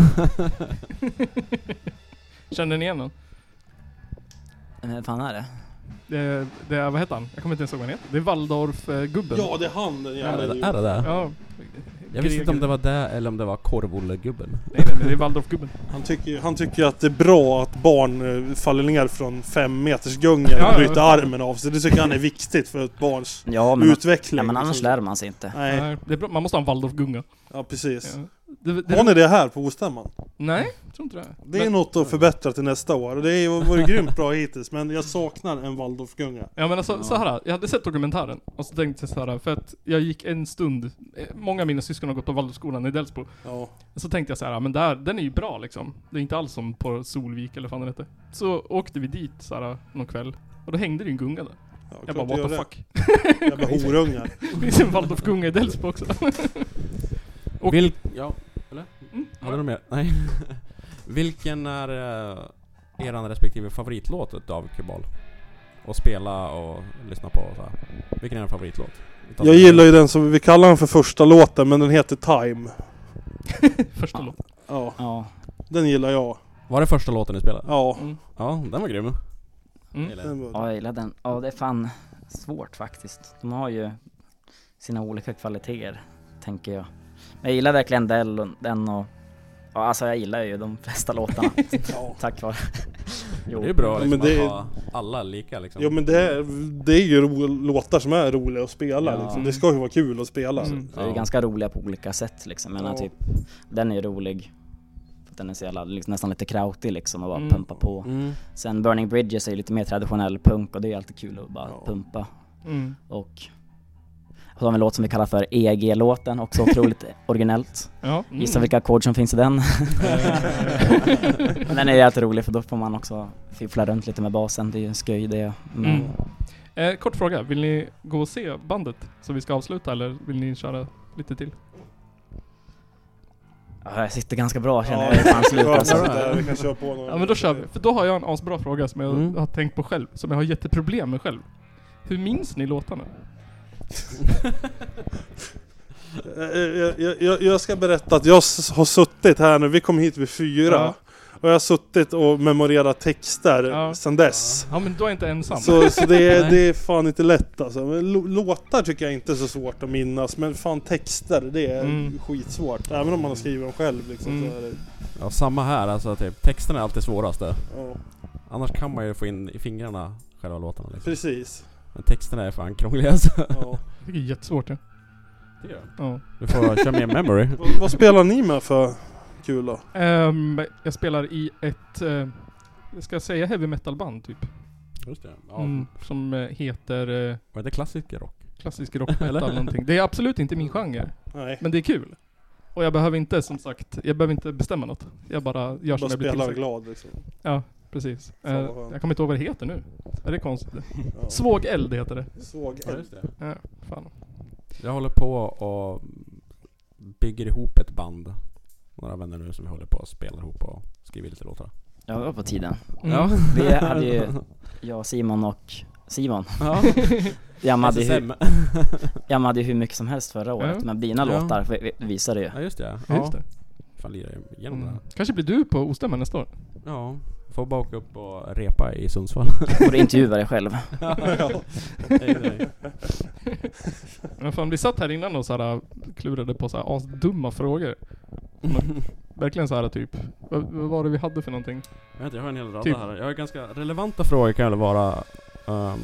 Speaker 2: Känner ni igen den?
Speaker 6: Vem Eh, fan är det?
Speaker 2: Det är, det är, vad heter han? Jag kommer inte ens ihåg vad han heter. Det är Waldorf-gubben.
Speaker 5: ja, det är han den
Speaker 3: är,
Speaker 5: jävla
Speaker 3: det, är det där?
Speaker 2: ja.
Speaker 3: Jag visste inte om det var det eller om det var korvullegubben.
Speaker 2: Nej nej, nej, det är Waldorf-gubben.
Speaker 5: han, tycker, han tycker att det är bra att barn eh, faller ner från fem meters gungor
Speaker 2: Ja, ja.
Speaker 5: och bryter armen av sig. Det tycker han är viktigt för ett barns
Speaker 6: Ja men,
Speaker 5: utveckling.
Speaker 6: ja, men annars
Speaker 5: liksom.
Speaker 6: lär man sig inte.
Speaker 5: Nej,
Speaker 2: Nej, det är bra. Man måste ha en Waldorf-gunga.
Speaker 5: ja precis.
Speaker 2: Ja. Det,
Speaker 5: Har
Speaker 2: det,
Speaker 5: ni det här på Ostämman?
Speaker 2: nej, jag tror inte det.
Speaker 5: Det är
Speaker 2: men,
Speaker 5: något att förbättra till nästa år. Det är- har varit grymt bra hittills, men jag saknar en Waldorfgunga.
Speaker 2: ja men alltså så här. jag hade sett dokumentären och så tänkte jag så här för att jag gick en stund, eh, många av mina syskon har gått på Waldorfskolan i Delsbo.
Speaker 5: Ja.
Speaker 2: Så tänkte jag så här, men där, den är ju bra liksom. Det är inte alls som på Solvik eller vad fan den heter. Så åkte vi dit så här, någon kväll. Och då hängde det ju en gunga där. Jag bara what the fuck.
Speaker 5: Jävla horungar.
Speaker 2: Det finns en Waldorfgunga i Delsbo också. Och-
Speaker 3: Vil- ja, eller?
Speaker 2: Mm.
Speaker 3: Hade du mer? Nej. Vilken är uh, eran respektive favoritlåt utav Kubal? Och spela och lyssna på och så här. Vilken är er favoritlåt? Utav-
Speaker 5: Jag gillar ju den som, vi kallar den för första låten, men den heter Time.
Speaker 2: Första låten.
Speaker 5: Ja,
Speaker 6: Ja.
Speaker 5: den gillar jag.
Speaker 3: Var det första låten ni spelade?
Speaker 5: Ja.
Speaker 2: Mm.
Speaker 3: Ja, den var grym.
Speaker 2: Mm.
Speaker 3: Eller?
Speaker 5: Den var-
Speaker 6: Ja, jag gillar den. Ja, det är fan svårt faktiskt. De har ju sina olika kvaliteter, tänker jag. Men jag gillar verkligen Dell och den och... Ja, alltså jag gillar ju de flesta låtarna. Tack vare... Jo.
Speaker 3: Det är bra
Speaker 5: Ja,
Speaker 3: liksom,
Speaker 5: men det-
Speaker 3: att ha alla lika liksom.
Speaker 5: Jo men det är, det är ju ro, låtar som är roliga att spela
Speaker 6: Ja.
Speaker 5: liksom. Det ska ju vara kul att spela.
Speaker 2: Mm.
Speaker 6: Så det är ju
Speaker 3: Ja.
Speaker 6: ganska roliga på olika sätt liksom. Jag menar
Speaker 5: Ja.
Speaker 6: typ, den är ju rolig. för att Den är så jävla, liksom, nästan lite krautig liksom och bara
Speaker 2: Mm.
Speaker 6: pumpa på.
Speaker 3: Mm.
Speaker 6: Sen Burning Bridges är ju lite mer traditionell punk och det är ju alltid kul att bara
Speaker 5: Ja.
Speaker 6: pumpa.
Speaker 2: Mm.
Speaker 6: Och så har vi en låt som vi kallar för EG-låten, också otroligt originellt.
Speaker 2: Ja. Mm.
Speaker 6: Gissa vilka ackord som finns i den. Men den är ju alltid rolig för då får man också fiffla runt lite med basen, det är ju en skoj det. Men
Speaker 2: Mm. Eh, kort fråga, vill ni gå och se bandet som vi ska avsluta eller vill ni köra lite till?
Speaker 6: ja, jag sitter ganska bra känner jag,
Speaker 5: Ja,
Speaker 6: jag är fan slut
Speaker 5: Skönt
Speaker 6: alltså.
Speaker 5: att det är- vi kan köra på någon.
Speaker 2: Ja men då kör vi, för då har jag en asbra fråga som jag
Speaker 3: Mm.
Speaker 2: har tänkt på själv, som jag har jätteproblem med själv. Hur minns ni låtarna?
Speaker 5: Jag, jag, Eh, jag, jag ska berätta att jag s- har suttit här nu, vi kom hit vid fyra.
Speaker 2: Ja.
Speaker 5: Och jag har suttit och memorerat texter
Speaker 2: Ja.
Speaker 5: sedan dess.
Speaker 2: Ja men då är jag inte ensam.
Speaker 5: Så, så det, är,
Speaker 3: Nej.
Speaker 5: det är fan inte lätt alltså. Men lo- låtar tycker jag inte är så svårt att minnas, men fan texter det är
Speaker 2: Mm.
Speaker 5: skitsvårt. Även om man har skrivit dem själv liksom.
Speaker 2: Mm.
Speaker 5: Så är det,
Speaker 3: ja, samma här alltså typ. Texten är alltid svårast där.
Speaker 5: ja,
Speaker 3: Annars kan man ju få in i fingrarna själva låtarna liksom.
Speaker 5: precis.
Speaker 3: Men texterna är fan krångliga alltså.
Speaker 5: Ja.
Speaker 2: Jag tycker det är jättesvårt ja. ja.
Speaker 3: Du får köra mer memory.
Speaker 2: Mm.
Speaker 5: Vad- Vad spelar ni med för kul då?
Speaker 2: Ehm, jag spelar i ett, eh, ska jag säga heavy metal band typ?
Speaker 3: Just det. Ja.
Speaker 2: Mm, som eh, heter eh,
Speaker 3: Var det klassisk rock?
Speaker 2: klassisk rock metal någonting. Det är absolut inte min genre,
Speaker 5: Nej,
Speaker 2: men det är kul. Och jag behöver inte som sagt, jag behöver inte bestämma något. Jag bara gör
Speaker 5: bara
Speaker 2: som jag blir
Speaker 5: spelar
Speaker 2: tillsagd.
Speaker 5: glad liksom.
Speaker 2: Ja, precis.
Speaker 5: Fan,
Speaker 2: Eh,
Speaker 5: vad skönt.
Speaker 2: jag kommer inte ihåg vad det heter nu. Är det konstigt?
Speaker 5: Ja.
Speaker 2: Svåg eld heter det.
Speaker 5: Såg
Speaker 3: det.
Speaker 2: Ja, fan.
Speaker 3: Jag håller på och bygger ihop ett band. Några vänner nu som vi håller på och spelar ihop och skriver lite låtar.
Speaker 6: Ja, det var på tiden.
Speaker 2: Mm.
Speaker 6: Vi hade ju, jag, Simon och Simon.
Speaker 3: ja.
Speaker 6: Jammade ju
Speaker 3: SSM.
Speaker 6: jammade ju hur mycket som helst förra året,
Speaker 2: Ja.
Speaker 6: men dina
Speaker 3: Ja.
Speaker 6: låtar vi- vi- visade ju.
Speaker 3: Ja just det.
Speaker 2: Ja,
Speaker 3: Ja.
Speaker 2: just det.
Speaker 3: Fan lirar ju igenom det
Speaker 2: Mm.
Speaker 3: här.
Speaker 2: Kanske blir du på Ostämman nästa år?
Speaker 3: Ja. Får bara åka upp och repa i Sundsvall.
Speaker 6: Och du intervjuade dig själv.
Speaker 3: Nej, nej.
Speaker 2: Men fan, vi satt här innan och så här, äh, klurade på så här asdumma frågor. Men, verkligen så här typ, vad, vad var det vi hade för någonting?
Speaker 3: Jag, vet, jag har en hel rad
Speaker 2: Typ.
Speaker 3: här. Jag har ganska relevanta frågor kan väl vara. ehm,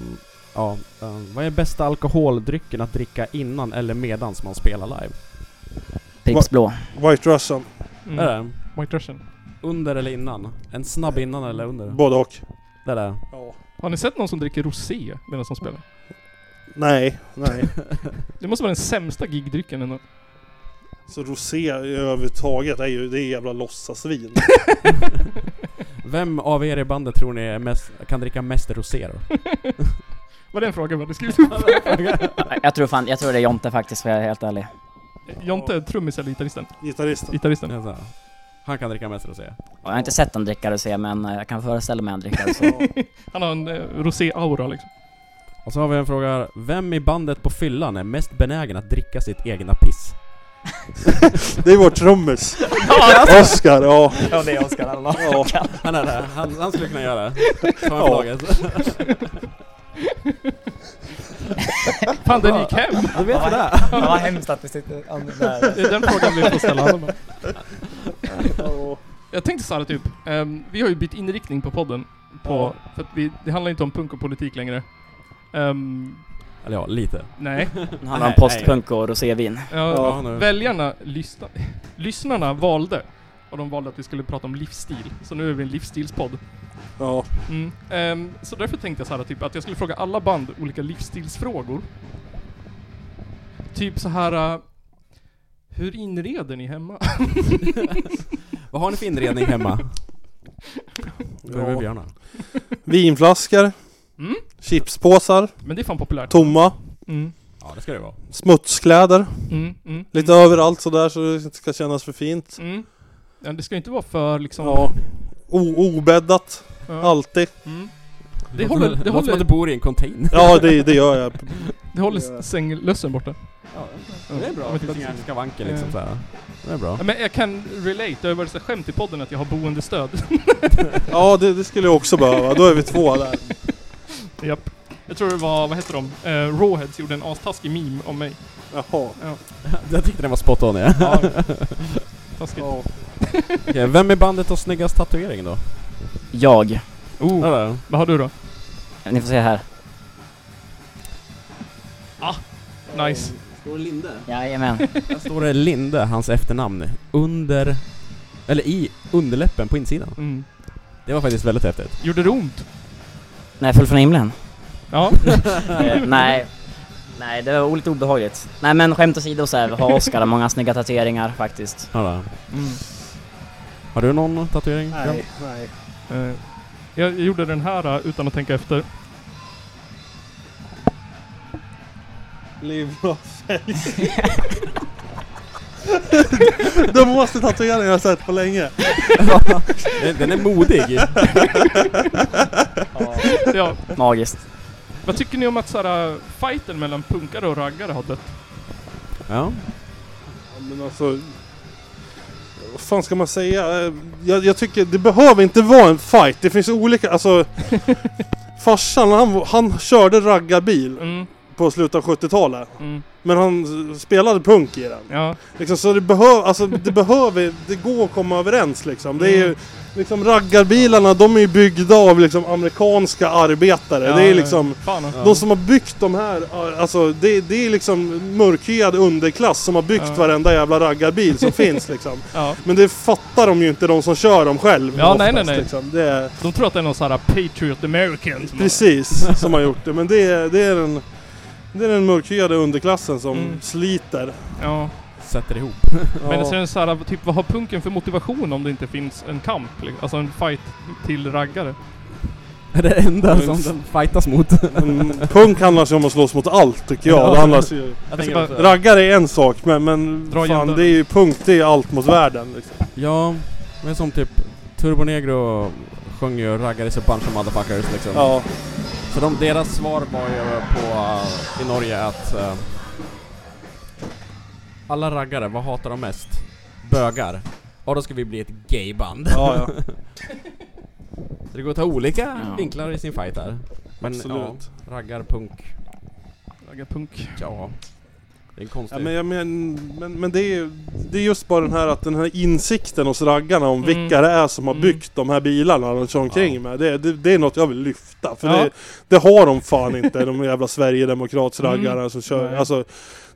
Speaker 3: ja, ehm, vad är bästa alkoholdrycken att dricka innan eller medans man spelar live?
Speaker 6: Pripps Blå.
Speaker 5: White Russian,
Speaker 2: Mm.
Speaker 3: Är det?
Speaker 2: White Russian.
Speaker 3: Under eller innan? En snabb innan eller under?
Speaker 5: både och.
Speaker 3: Det där.
Speaker 5: Ja.
Speaker 2: Har ni sett någon som dricker rosé medan de spelar?
Speaker 5: Nej, nej.
Speaker 2: Det måste vara den sämsta gigdrycken ändå.
Speaker 5: Så rosé överhuvudtaget är ju, det är jävla låtsasvin.
Speaker 3: Vem av er i bandet tror ni är mest, kan dricka mest rosé då?
Speaker 2: Var det en fråga vi hade skrivit upp?
Speaker 6: Jag- Jag tror fan, jag tror det är Jonte faktiskt, för jag är helt ärlig.
Speaker 2: Jonte är trummis eller gitarristen?
Speaker 5: Gitarristen.
Speaker 2: Gitarristen.
Speaker 3: Jag sa, Alltså, Han kan dricka mest rosé.
Speaker 6: Jag har inte sett en dricka rosé, men eh, jag kan föreställa mig en dricka rosé.
Speaker 5: Ja.
Speaker 2: Han har en eh, rosé-aura liksom.
Speaker 3: Och så har vi en fråga här. Vem i bandet på fyllan är mest benägen att dricka sitt egna piss?
Speaker 5: Det är vår trummis. Oskar, ja.
Speaker 6: Ja, det är Oskar alla.
Speaker 5: ja.
Speaker 3: Han är det. Han, han skulle kunna göra det. Ta en
Speaker 5: Ja.
Speaker 3: fråga.
Speaker 2: Fan den gick hem!
Speaker 3: Du vet vad det är?
Speaker 7: Vad hemskt att vi sitter där.
Speaker 2: Det är den frågan vi får ställa honom.
Speaker 5: ja.
Speaker 2: Jag tänkte såhär typ, ehm, vi har ju bytt inriktning på podden. På, för att vi, det handlar inte om punk och politik längre. Ehm,
Speaker 3: Eller ja, lite.
Speaker 2: nej.
Speaker 6: Det handlar om
Speaker 3: Nej,
Speaker 6: postpunk och rosévin.
Speaker 2: Ja,
Speaker 3: nu.
Speaker 2: Väljarna, lyssna, lyssnarna valde. Och de valde att vi skulle prata om livsstil. Så nu är vi en livsstilspodd.
Speaker 5: ja.
Speaker 2: Mm. ehm, så därför tänkte jag så här, typ att jag skulle fråga alla band olika livsstilsfrågor. Typ så här. eh, hur inreder ni hemma?
Speaker 3: Vad har ni för inredning hemma? Börjar med
Speaker 5: ja.
Speaker 3: Björna.
Speaker 5: Vinflaskor.
Speaker 2: Mm.
Speaker 5: Chipspåsar.
Speaker 2: Men det är fan populärt.
Speaker 5: Tomma.
Speaker 2: Mm,
Speaker 3: Ja, det ska det vara.
Speaker 5: Smutskläder.
Speaker 2: mm, mm,
Speaker 5: Lite överallt sådär så det ska kännas för fint.
Speaker 2: mm. Ja, det ska ju inte vara för liksom...
Speaker 5: Ja. O- obäddat.
Speaker 2: Ja.
Speaker 5: Alltid.
Speaker 2: Mm. Det håller,
Speaker 3: låter
Speaker 2: det
Speaker 3: som att du
Speaker 2: håller,
Speaker 3: bor i en container.
Speaker 5: Ja, det, det gör jag.
Speaker 2: det håller sänglössen borta.
Speaker 3: Ja,
Speaker 2: Ja.
Speaker 3: Det finns inga skavanker
Speaker 2: Eh.
Speaker 3: liksom så här. Det är bra.
Speaker 2: Ja, men jag kan relate, det har ju varit så skämt i podden att jag har boendestöd.
Speaker 5: Ja, det, det skulle jag också behöva. Då är vi två där.
Speaker 2: Japp. Jag tror det var, vad heter de? Eh, Rawheads gjorde en astaskig meme om mig.
Speaker 5: Jaha.
Speaker 3: Jag tyckte den var spot on ja.
Speaker 2: Ja. Taskigt.
Speaker 5: Ja.
Speaker 3: Okej, vem i bandet har snyggast tatuering då?
Speaker 6: Jag.
Speaker 2: Oh,
Speaker 3: Där, där.
Speaker 2: vad har du då?
Speaker 6: Ni får se här.
Speaker 2: Nice.
Speaker 1: Står det Linde?
Speaker 6: Jajamän.
Speaker 3: Där står det Linde, hans efternamn, under... Eller i underläppen på insidan.
Speaker 2: Mm.
Speaker 3: Det var faktiskt väldigt häftigt.
Speaker 2: Gjorde det ont?
Speaker 6: När jag föll från himlen.
Speaker 2: Ja.
Speaker 6: Eh, nej. Nej, det var lite obehagligt. Nej men skämt åsido så här, har Oscar många snygga tatueringar faktiskt.
Speaker 3: Ja, där.
Speaker 2: Mm.
Speaker 3: Har du någon tatuering? Björn?
Speaker 4: Nej, nej.
Speaker 2: Eh, jag gjorde den här eh, utan att tänka efter.
Speaker 5: Liv och fälg. De måste tatueringen jag har sett på länge.
Speaker 3: Den, den är modig.
Speaker 2: Ja.
Speaker 6: Magiskt.
Speaker 2: Vad tycker ni om att såhär, fighten mellan punkare och raggare har dött?
Speaker 3: Ja.
Speaker 5: Ja, Men alltså... Vad fan ska man säga? Eh, Jag, jag tycker det behöver inte vara en fight. Det finns olika... Alltså... Farsan han, han körde raggarbil
Speaker 2: Mm,
Speaker 5: på slutet av 70-talet.
Speaker 2: mm,
Speaker 5: Men han eh, spelade punk i den.
Speaker 2: ja.
Speaker 5: Liksom, så det, behöv, alltså, det behöver, det går att komma överens liksom. Det är ju, liksom raggarbilarna de är ju byggda av liksom amerikanska arbetare.
Speaker 2: ja
Speaker 5: det är
Speaker 2: ja,
Speaker 5: liksom,
Speaker 2: ja. Fan ja.
Speaker 5: de som har byggt de här, alltså det, det är liksom mörkhyad underklass som har byggt
Speaker 2: Ja.
Speaker 5: varenda jävla raggarbil som finns liksom.
Speaker 2: ja.
Speaker 5: Men det fattar de ju inte de som kör dem själv.
Speaker 2: Ja, nej, nej, nej.
Speaker 5: Liksom. Det är,
Speaker 2: De tror att det är någon såhär Patriot American som har-
Speaker 5: precis, som har gjort det. Men det är, det är den, det är den mörkhyade underklassen som
Speaker 2: Mm.
Speaker 5: sliter.
Speaker 2: Ja.
Speaker 3: Sätter ihop.
Speaker 2: Men
Speaker 5: Ja.
Speaker 2: sen såhär, typ vad har punken för motivation om det inte finns en kamp? liksom? Alltså en fight till raggare?
Speaker 3: Det är det enda som den fightas mot.
Speaker 5: Men Mm, punk handlar sig om att slåss mot allt tycker jag.
Speaker 3: Ja.
Speaker 5: Det handlar sig ju...
Speaker 3: Jag
Speaker 2: tänker också-
Speaker 5: Raggare är en sak men, men
Speaker 2: Dra igen
Speaker 5: fan
Speaker 2: den.
Speaker 5: det är ju punkt, det är allt mot världen liksom.
Speaker 3: Ja, men som typ Turbo Negro sjöng ju 'Raggare så bunch of motherfuckers' liksom.
Speaker 5: Ja.
Speaker 3: Så de, deras svar var ju på, eh, i Norge att eh, alla raggare, vad hatar de mest? Bögar. Ja, då ska vi bli ett gayband.
Speaker 5: Ja, ja.
Speaker 3: Så det går att ta olika
Speaker 6: Ja.
Speaker 3: vinklar i sin fight där. Men
Speaker 5: Absolut.
Speaker 3: ja, raggar, punk,
Speaker 2: Raggarpunk.
Speaker 3: ja. Det är en
Speaker 2: typ.
Speaker 3: konstig...
Speaker 5: ja men, jag men, men, men det är ju det är just bara den här att den här insikten hos raggarna om
Speaker 2: Mm.
Speaker 5: vilka det är som har
Speaker 2: Mm.
Speaker 5: byggt de här bilarna de kör omkring
Speaker 3: Ja.
Speaker 5: med. Det, det, det är något jag vill lyfta. För
Speaker 2: Ja.
Speaker 5: det, det har de fan inte, de jävla Sverigedemokrats-raggarna som kör.
Speaker 2: Mm. Nej.
Speaker 5: Alltså,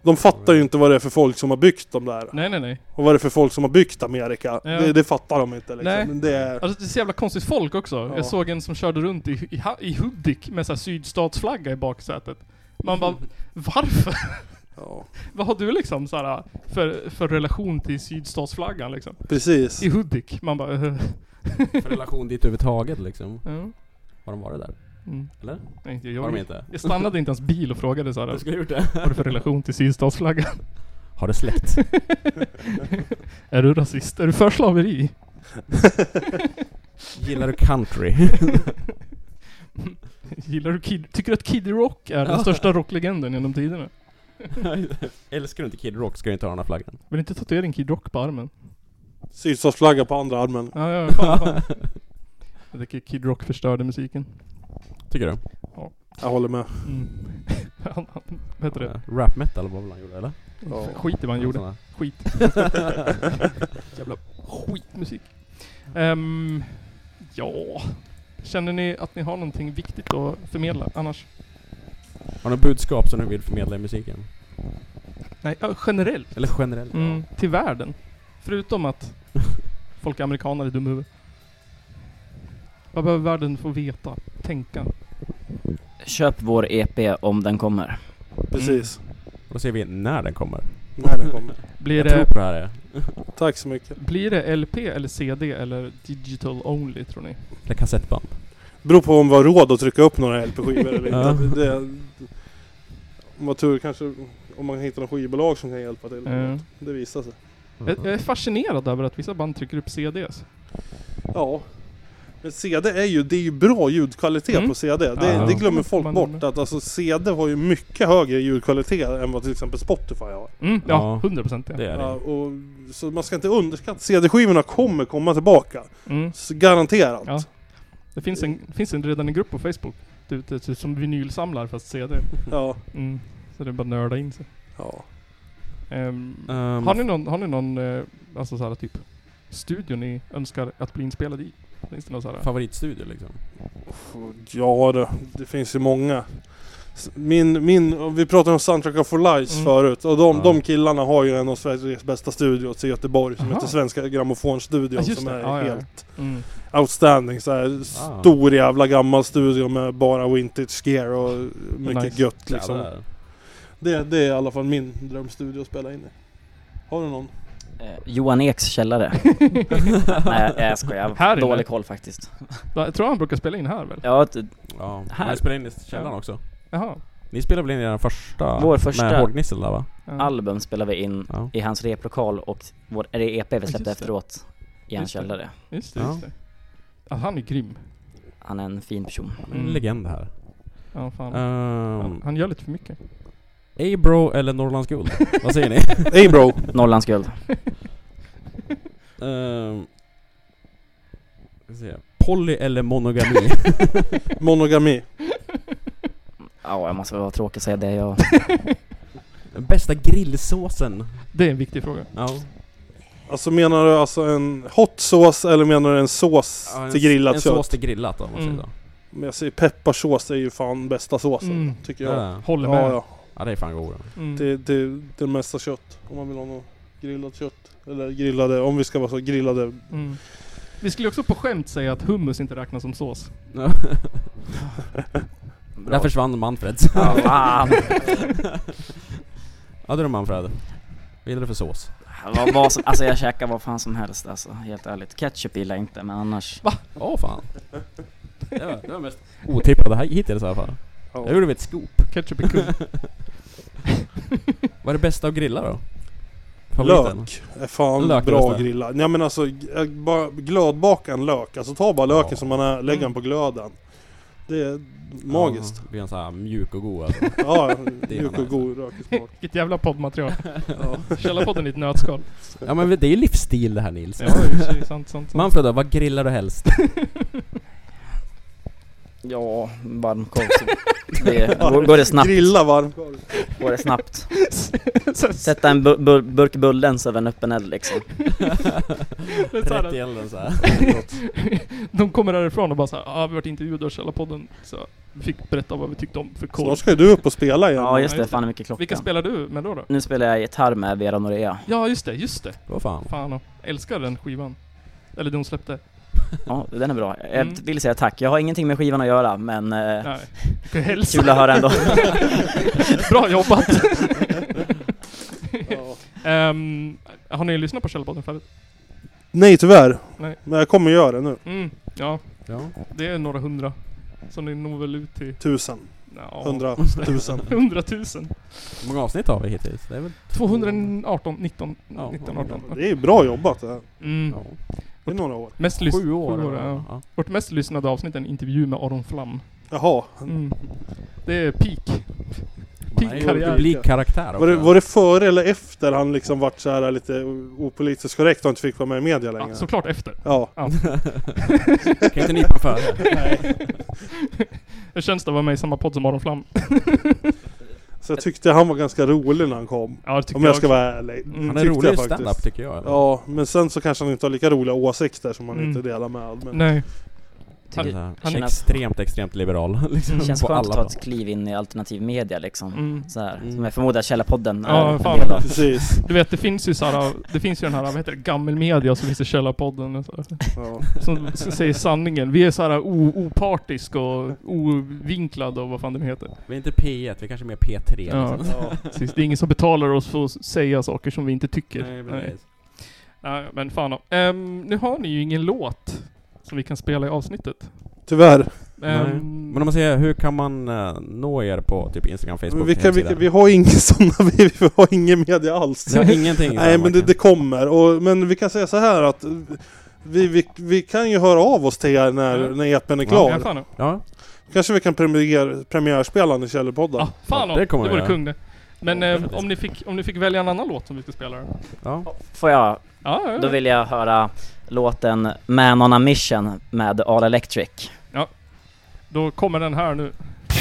Speaker 5: de fattar ju inte vad det är för folk som har byggt de där.
Speaker 2: Nej nej nej.
Speaker 5: Och vad det är för folk som har byggt Amerika.
Speaker 2: Ja.
Speaker 5: Det, det fattar de inte liksom.
Speaker 2: Nej.
Speaker 5: Men det är...
Speaker 2: Alltså det är så jävla konstigt folk också.
Speaker 5: Ja.
Speaker 2: Jag såg en som körde runt i, i, ha- i Hudik med såhär sydstatsflagga i baksätet. Man bara, varför?
Speaker 5: Ja,
Speaker 2: Vad har du liksom såhär för, för relation till sydstatsflaggan liksom?
Speaker 5: precis.
Speaker 2: I Hudik. Man bara, eh,
Speaker 3: för relation dit överhuvudtaget liksom.
Speaker 2: ja.
Speaker 3: Har de varit där?
Speaker 2: Mm.
Speaker 3: Eller?
Speaker 2: Nej, inte
Speaker 3: Har
Speaker 2: jag,
Speaker 3: de
Speaker 2: jag,
Speaker 3: inte?
Speaker 2: jag stannade inte ens bil och frågade såhär,
Speaker 3: Jag
Speaker 2: vad
Speaker 3: skulle ha gjort det.
Speaker 2: har du för relation till sydstatsflaggan?
Speaker 3: Har du släkt?
Speaker 2: är du rasist? Är du för slaveri?
Speaker 3: Gillar du country?
Speaker 2: Gillar du Kid, tycker du att Kid Rock är den
Speaker 3: Ja.
Speaker 2: största rocklegenden genom tiderna?
Speaker 3: Älskar du inte Kid Rock ska du inte ha den här flaggan.
Speaker 2: Vill inte tatuera en Kid Rock på armen?
Speaker 5: Sydstatsflagga på andra armen.
Speaker 2: Ja, ja, fan, fan. Jag tycker Kid Rock förstörde musiken.
Speaker 3: Tycker du?
Speaker 5: Jag håller med.
Speaker 2: Mm. Han, han, vad heter det?
Speaker 3: Eh, Rap metal var väl han gjorde eller?
Speaker 2: Skit i vad han gjorde.
Speaker 3: Sådana.
Speaker 2: Skit. Jävla skitmusik. Ehm, ja. Känner ni att ni har någonting viktigt att förmedla annars?
Speaker 3: Har du något budskap som du vill förmedla i musiken?
Speaker 2: Nej, ja, generellt.
Speaker 3: Eller generellt?
Speaker 2: Mm, till världen. Förutom att folk är amerikaner i dumhuvud. Vad behöver världen få veta? Tänka?
Speaker 6: Köp vår EP om den kommer.
Speaker 5: Precis.
Speaker 3: Och då ser vi när den kommer.
Speaker 5: När den kommer.
Speaker 2: Blir
Speaker 3: Jag tror
Speaker 2: det,
Speaker 3: på det här. eh,
Speaker 5: Tack så mycket.
Speaker 2: blir det LP eller CD eller digital only tror ni?
Speaker 3: Eller kassettband.
Speaker 5: Beror på om vi har råd att trycka upp några LP-skivor eller
Speaker 3: Ja.
Speaker 5: inte. Det, det, om man har tur kanske om man hittar något skivbolag som kan hjälpa till.
Speaker 2: Mm.
Speaker 5: Det visar sig.
Speaker 2: Jag, jag är fascinerad över att vissa band trycker upp CDs.
Speaker 5: Ja. Men CD är ju, det är ju bra ljudkvalitet
Speaker 2: Mm.
Speaker 5: på CD. Det,
Speaker 3: Ja.
Speaker 5: det glömmer
Speaker 2: Man-
Speaker 5: folk bort. Att alltså CD har ju mycket högre ljudkvalitet än vad till exempel Spotify har.
Speaker 2: Mm, ja,
Speaker 3: Ja.
Speaker 2: 100% ja.
Speaker 3: Det är
Speaker 5: Ja,
Speaker 3: det.
Speaker 5: och, så man ska inte underskatta. CD-skivorna kommer komma tillbaka.
Speaker 2: Mm.
Speaker 5: S- Garanterat.
Speaker 2: Ja. Det finns en, finns en redan en grupp på Facebook. Det, det, som vinylsamlar typ fast CD.
Speaker 5: ja.
Speaker 2: Mm. Så det är bara att nörda in sig.
Speaker 5: Ja.
Speaker 2: Ehm,
Speaker 3: Ehm,
Speaker 2: har ni någon, har ni någon eh, alltså så här typ studio ni önskar att bli inspelad i? Finns det någon så här?
Speaker 3: Favoritstudio liksom?
Speaker 5: Ja du, det finns ju många. S- Min, min, vi pratade om Soundtrack of For Lives
Speaker 2: Mm.
Speaker 5: förut och de,
Speaker 3: Ja.
Speaker 5: de killarna har ju en av Sveriges bästa studios i Göteborg som
Speaker 2: Aha.
Speaker 5: heter Svenska Grammofonstudion
Speaker 2: Ja, just
Speaker 5: som
Speaker 2: det.
Speaker 5: är
Speaker 2: Ja, Ah. ja, ja.
Speaker 5: helt
Speaker 2: Mm.
Speaker 5: outstanding. Så här, Stor jävla gammal studio med bara vintage gear och mycket
Speaker 2: Nice.
Speaker 5: gött liksom.
Speaker 3: Jävlar.
Speaker 5: Det, det är i alla fall min drömstudio att spela in i. Har du någon?
Speaker 6: Eh, Johan Eks källare. Nej eh, jag skojar, jag
Speaker 2: Här
Speaker 6: har
Speaker 2: inne?
Speaker 6: dålig koll faktiskt.
Speaker 2: Jag tror han brukar spela in här väl?
Speaker 6: Ja, t-
Speaker 3: Ja,
Speaker 6: Här.
Speaker 3: här. ni spelade in i källaren också.
Speaker 2: Jaha.
Speaker 3: Ni spelade väl in i den första?
Speaker 6: Vår första.
Speaker 3: Med Hårdgnissel där va?
Speaker 2: Ja.
Speaker 6: album spelar vi in
Speaker 3: Ja.
Speaker 6: i hans replokal och vår är det EP vi
Speaker 2: just
Speaker 6: släppte
Speaker 2: det.
Speaker 6: efteråt i hans
Speaker 2: Just det.
Speaker 6: källare.
Speaker 2: Just det, just
Speaker 3: Ja.
Speaker 2: det. Ja, han är grym.
Speaker 6: Han är en fin person.
Speaker 3: Han är
Speaker 2: Mm.
Speaker 3: En legend här.
Speaker 2: Ja, fan.
Speaker 3: Ehm,
Speaker 2: han, han gör lite för mycket.
Speaker 3: Abro eller Norrlands Guld? Vad säger ni?
Speaker 5: Hey bro!
Speaker 6: Norrlands guld.
Speaker 3: Ehm, ska se. Poly eller monogami?
Speaker 5: Monogami.
Speaker 6: Ja, jag måste vara tråkig och säga det. Jag,
Speaker 3: Bästa grillsåsen?
Speaker 2: Det är en viktig fråga.
Speaker 3: Ja.
Speaker 5: Alltså menar du alltså en hot sås eller menar du en sås
Speaker 3: Ja, en-
Speaker 5: till grillat
Speaker 3: En
Speaker 5: kött?
Speaker 3: sås till grillat då, om man säger
Speaker 2: Mm.
Speaker 3: så.
Speaker 5: Men jag säger pepparsås är ju fan bästa såsen.
Speaker 2: Mm.
Speaker 5: Tycker jag.
Speaker 3: Ja.
Speaker 2: Håller med.
Speaker 5: Ja, ja.
Speaker 3: ja, det är fan god.
Speaker 2: Mm.
Speaker 5: Det, det, det mesta kött. Om man vill ha något grillat kött. Eller grillade, om vi ska vara så grillade.
Speaker 2: Mm. Vi skulle också på skämt säga att hummus inte räknas som sås.
Speaker 3: Där försvann Manfred.
Speaker 6: ja, fan.
Speaker 3: ja du då Manfred. Vad gillar du för sås?
Speaker 6: Vad, vad som, alltså jag käkar vad fan som helst alltså, helt ärligt. Ketchup gillar jag inte, men annars.
Speaker 3: Åh fan. Det var, det var mest otippade här hittills i alla fall.
Speaker 5: Ja.
Speaker 3: Jag gjorde ett scoop.
Speaker 2: Ketchup är kul.
Speaker 3: Vad är det bästa att grilla då?
Speaker 5: Lök är fan
Speaker 3: Lök är
Speaker 5: bra
Speaker 3: bästa.
Speaker 5: att grilla. Nej men alltså g- bara glödbaka en lök. Alltså ta bara löken
Speaker 3: Ja.
Speaker 5: som man är, lägg
Speaker 2: Mm.
Speaker 5: den på glöden. Det är magiskt.
Speaker 3: Ja, det blir en sån här mjuk och god alltså.
Speaker 5: Ja,
Speaker 3: Det är
Speaker 5: mjuk och
Speaker 3: nice.
Speaker 5: god rökesmak.
Speaker 2: Vilket jävla poddmaterial.
Speaker 5: Ja.
Speaker 2: Källarpodden i ett nötskal.
Speaker 3: Ja men det är ju livsstil det här Nils.
Speaker 2: Ja, i och för sig. sant, sant, sant.
Speaker 3: Manfred då, vad grillar du helst?
Speaker 6: Ja, varmkorv. så Det, går, går det snabbt,
Speaker 5: Grilla varmkorv.
Speaker 6: går det snabbt.
Speaker 2: Sen-
Speaker 6: Sätta en bu- bu- burk Bullens över en öppen eld liksom.
Speaker 2: det är så här
Speaker 3: Rätt
Speaker 2: att
Speaker 3: i elden såhär.
Speaker 2: De kommer därifrån och bara såhär, ah, vi vart intervjuade av Källarpodden. Så vi fick berätta vad vi tyckte om för korv.
Speaker 5: Snart ska ju du upp och spela igen.
Speaker 6: Ja
Speaker 5: Ja,
Speaker 6: just det, fan hur mycket klockan.
Speaker 2: Vilka spelar du med då? då?
Speaker 6: Nu spelar jag gitarr med Vera Norea.
Speaker 2: Ja, just det, just det.
Speaker 3: Vad fan.
Speaker 2: Fan, jag älskar den skivan. Eller det hon släppte.
Speaker 6: Ja, den är bra. Jag
Speaker 2: Mm.
Speaker 6: vill säga tack. Jag har ingenting med skivan att göra, men eh,
Speaker 2: Nej. Ska jag hälsa?
Speaker 6: kul att höra ändå.
Speaker 2: Bra jobbat!
Speaker 5: ja.
Speaker 2: Ehm, har ni lyssnat på Källarpodden förut?
Speaker 5: Nej tyvärr.
Speaker 2: Nej.
Speaker 5: Men jag kommer göra det nu.
Speaker 2: Mm, ja.
Speaker 3: Ja.
Speaker 2: Det är några hundra. Så ni når väl ut till...
Speaker 5: Tusen.
Speaker 2: Ja,
Speaker 5: Hundra. Tusen.
Speaker 2: hundratusen.
Speaker 3: Hur många avsnitt har vi hittills? Det är väl...
Speaker 2: 218, 19,
Speaker 3: Ja,
Speaker 2: 19, 18.
Speaker 5: Det är ju bra jobbat det här.
Speaker 2: Mm.
Speaker 3: Ja.
Speaker 5: Det är några år.
Speaker 2: Mest lys-
Speaker 3: Sju år.
Speaker 2: sju år ja. Vårt mest lyssnade avsnitt är en intervju med Aron Flam.
Speaker 5: Jaha.
Speaker 2: Mm. Det är peak.
Speaker 3: Man är ju
Speaker 2: karriär.
Speaker 3: publikkaraktär
Speaker 5: Var det,
Speaker 3: också.
Speaker 5: var det före eller efter han liksom vart så här lite opolitiskt korrekt och inte fick vara med i media
Speaker 2: Ja,
Speaker 5: längre?
Speaker 2: såklart efter.
Speaker 5: Ja.
Speaker 3: Kan inte nypa före?
Speaker 2: Hur känns det att vara med i samma podd som Aron Flam?
Speaker 5: Så jag tyckte han var ganska rolig när han kom.
Speaker 2: Ja, det tycker
Speaker 5: Om jag ska
Speaker 2: också.
Speaker 5: vara ärlig.
Speaker 2: Mm.
Speaker 3: Han är
Speaker 5: Tyckte jag
Speaker 3: rolig i
Speaker 5: faktiskt.
Speaker 3: standup tycker jag.
Speaker 5: Ja, men sen så kanske han inte har lika roliga åsikter som han
Speaker 2: Mm.
Speaker 5: inte delar med. Men
Speaker 2: Nej.
Speaker 3: Han är,
Speaker 6: Tycker-
Speaker 3: så här,
Speaker 6: han är-
Speaker 3: Alltså, extremt, extremt liberal. Liksom,
Speaker 6: Det känns
Speaker 3: på
Speaker 6: skönt att ta
Speaker 3: alla
Speaker 6: ett kliv in i alternativ media liksom.
Speaker 2: Mm.
Speaker 6: Så här,
Speaker 3: Mm.
Speaker 6: som jag förmodar Källarpodden
Speaker 2: Ja,
Speaker 6: är
Speaker 2: fan.
Speaker 6: en del av.
Speaker 5: precis.
Speaker 2: Du vet, det finns ju så här, det finns ju den här, vad heter det, gammelmedia och så finns det Källarpodden och så här,
Speaker 5: Ja.
Speaker 2: som s- säger sanningen. Vi är så här o- opartisk och ovinklad och vad fan det nu heter.
Speaker 3: Vi är inte P1, vi är kanske mer P3.
Speaker 2: Ja.
Speaker 3: liksom.
Speaker 5: Ja.
Speaker 2: Precis, det är ingen som betalar oss för att s- säga saker som vi inte tycker.
Speaker 3: Nej, precis.
Speaker 2: Nej, men fan då. Ehm, Nu har ni ju ingen låt som vi kan spela i avsnittet.
Speaker 5: Tyvärr.
Speaker 2: Ehm,
Speaker 3: Nej. Men om man säger, hur kan man eh, nå er på typ Instagram, Facebook,
Speaker 5: Men vi, kan, vi,
Speaker 3: hemsida?
Speaker 5: kan- vi har inga sådana, vi, vi har ingen media alls.
Speaker 3: Ni har ingenting?
Speaker 5: Nej men det,
Speaker 3: Martin.
Speaker 5: det kommer. Och, men vi kan säga så här att vi, vi, vi kan ju höra av oss till er när,
Speaker 2: Mm.
Speaker 5: när EPn är
Speaker 2: Ja,
Speaker 5: klar.
Speaker 2: fan då.
Speaker 3: Ja,
Speaker 5: Kanske vi kan premiär, premiärspela den i Källarpodden.
Speaker 2: Ah, fan
Speaker 3: Ja,
Speaker 2: då.
Speaker 3: det
Speaker 2: Det,
Speaker 3: kommer jag
Speaker 2: vore
Speaker 3: göra.
Speaker 2: kung det. Men
Speaker 3: Ja,
Speaker 2: ehm,
Speaker 3: faktiskt.
Speaker 2: om, ni fick, om ni fick välja en annan låt som vi ska spela då? Ja,
Speaker 3: ja.
Speaker 6: Får jag?
Speaker 2: ja,
Speaker 6: Då
Speaker 2: ja.
Speaker 6: vill jag höra låten Man on a Mission med All Electric.
Speaker 2: Då kommer den här nu.
Speaker 8: All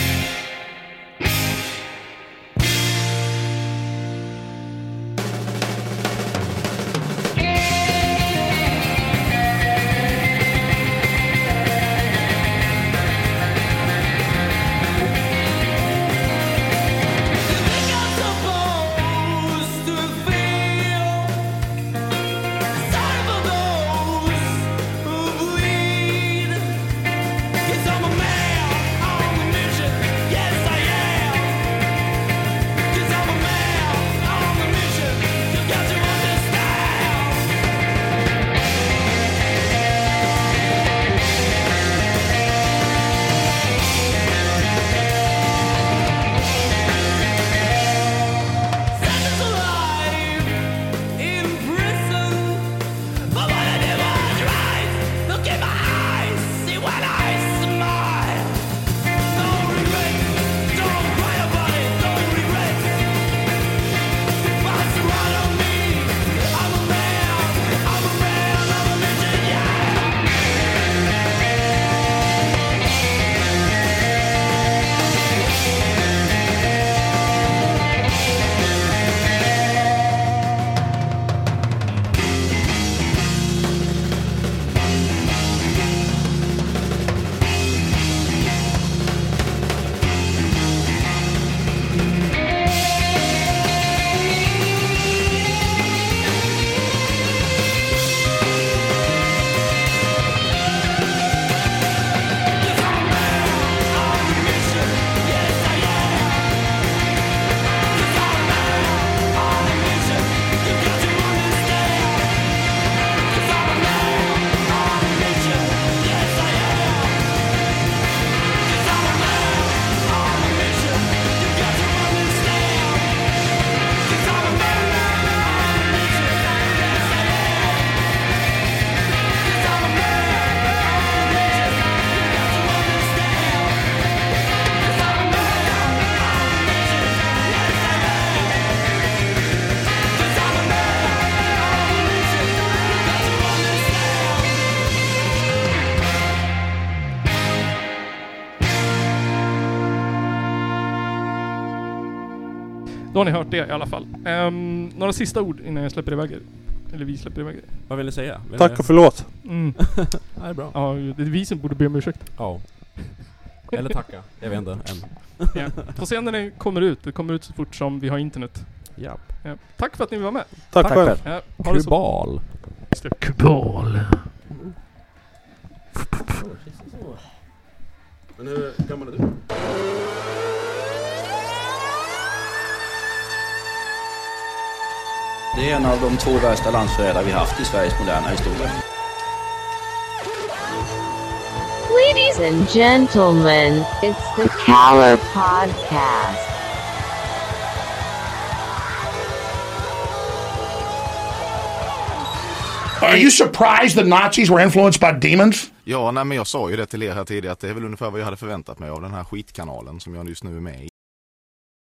Speaker 2: Då har ni hört det i alla fall. Ehm, några sista ord innan jag släpper iväg er. Eller vi släpper iväg er.
Speaker 3: Vad vill ni säga? Vill
Speaker 5: Tack
Speaker 3: ni...
Speaker 5: och förlåt.
Speaker 2: Mm.
Speaker 3: Ja, det är bra.
Speaker 2: Ja, det är vi som borde be om ursäkt.
Speaker 3: Ja. Eller tacka. Jag vet inte än.
Speaker 2: Får se när den kommer ut. Det kommer ut så fort som vi har internet.
Speaker 3: Ja.
Speaker 2: Ja. Tack för att ni var med.
Speaker 5: Tack, själv.
Speaker 2: Ja, ha det så
Speaker 3: Kubal.
Speaker 2: Kubal.
Speaker 3: Men hur gammal är du?
Speaker 1: Det är en av de två värsta landsförrädare vi haft i Sveriges moderna historia.
Speaker 8: Ladies and gentlemen, it's the Cower Podcast.
Speaker 9: Are you surprised the Nazis were influenced by demons?
Speaker 10: Ja, nej, men jag sa ju det till er här tidigare att det är väl ungefär vad jag hade förväntat mig av den här skitkanalen som jag just nu är med i.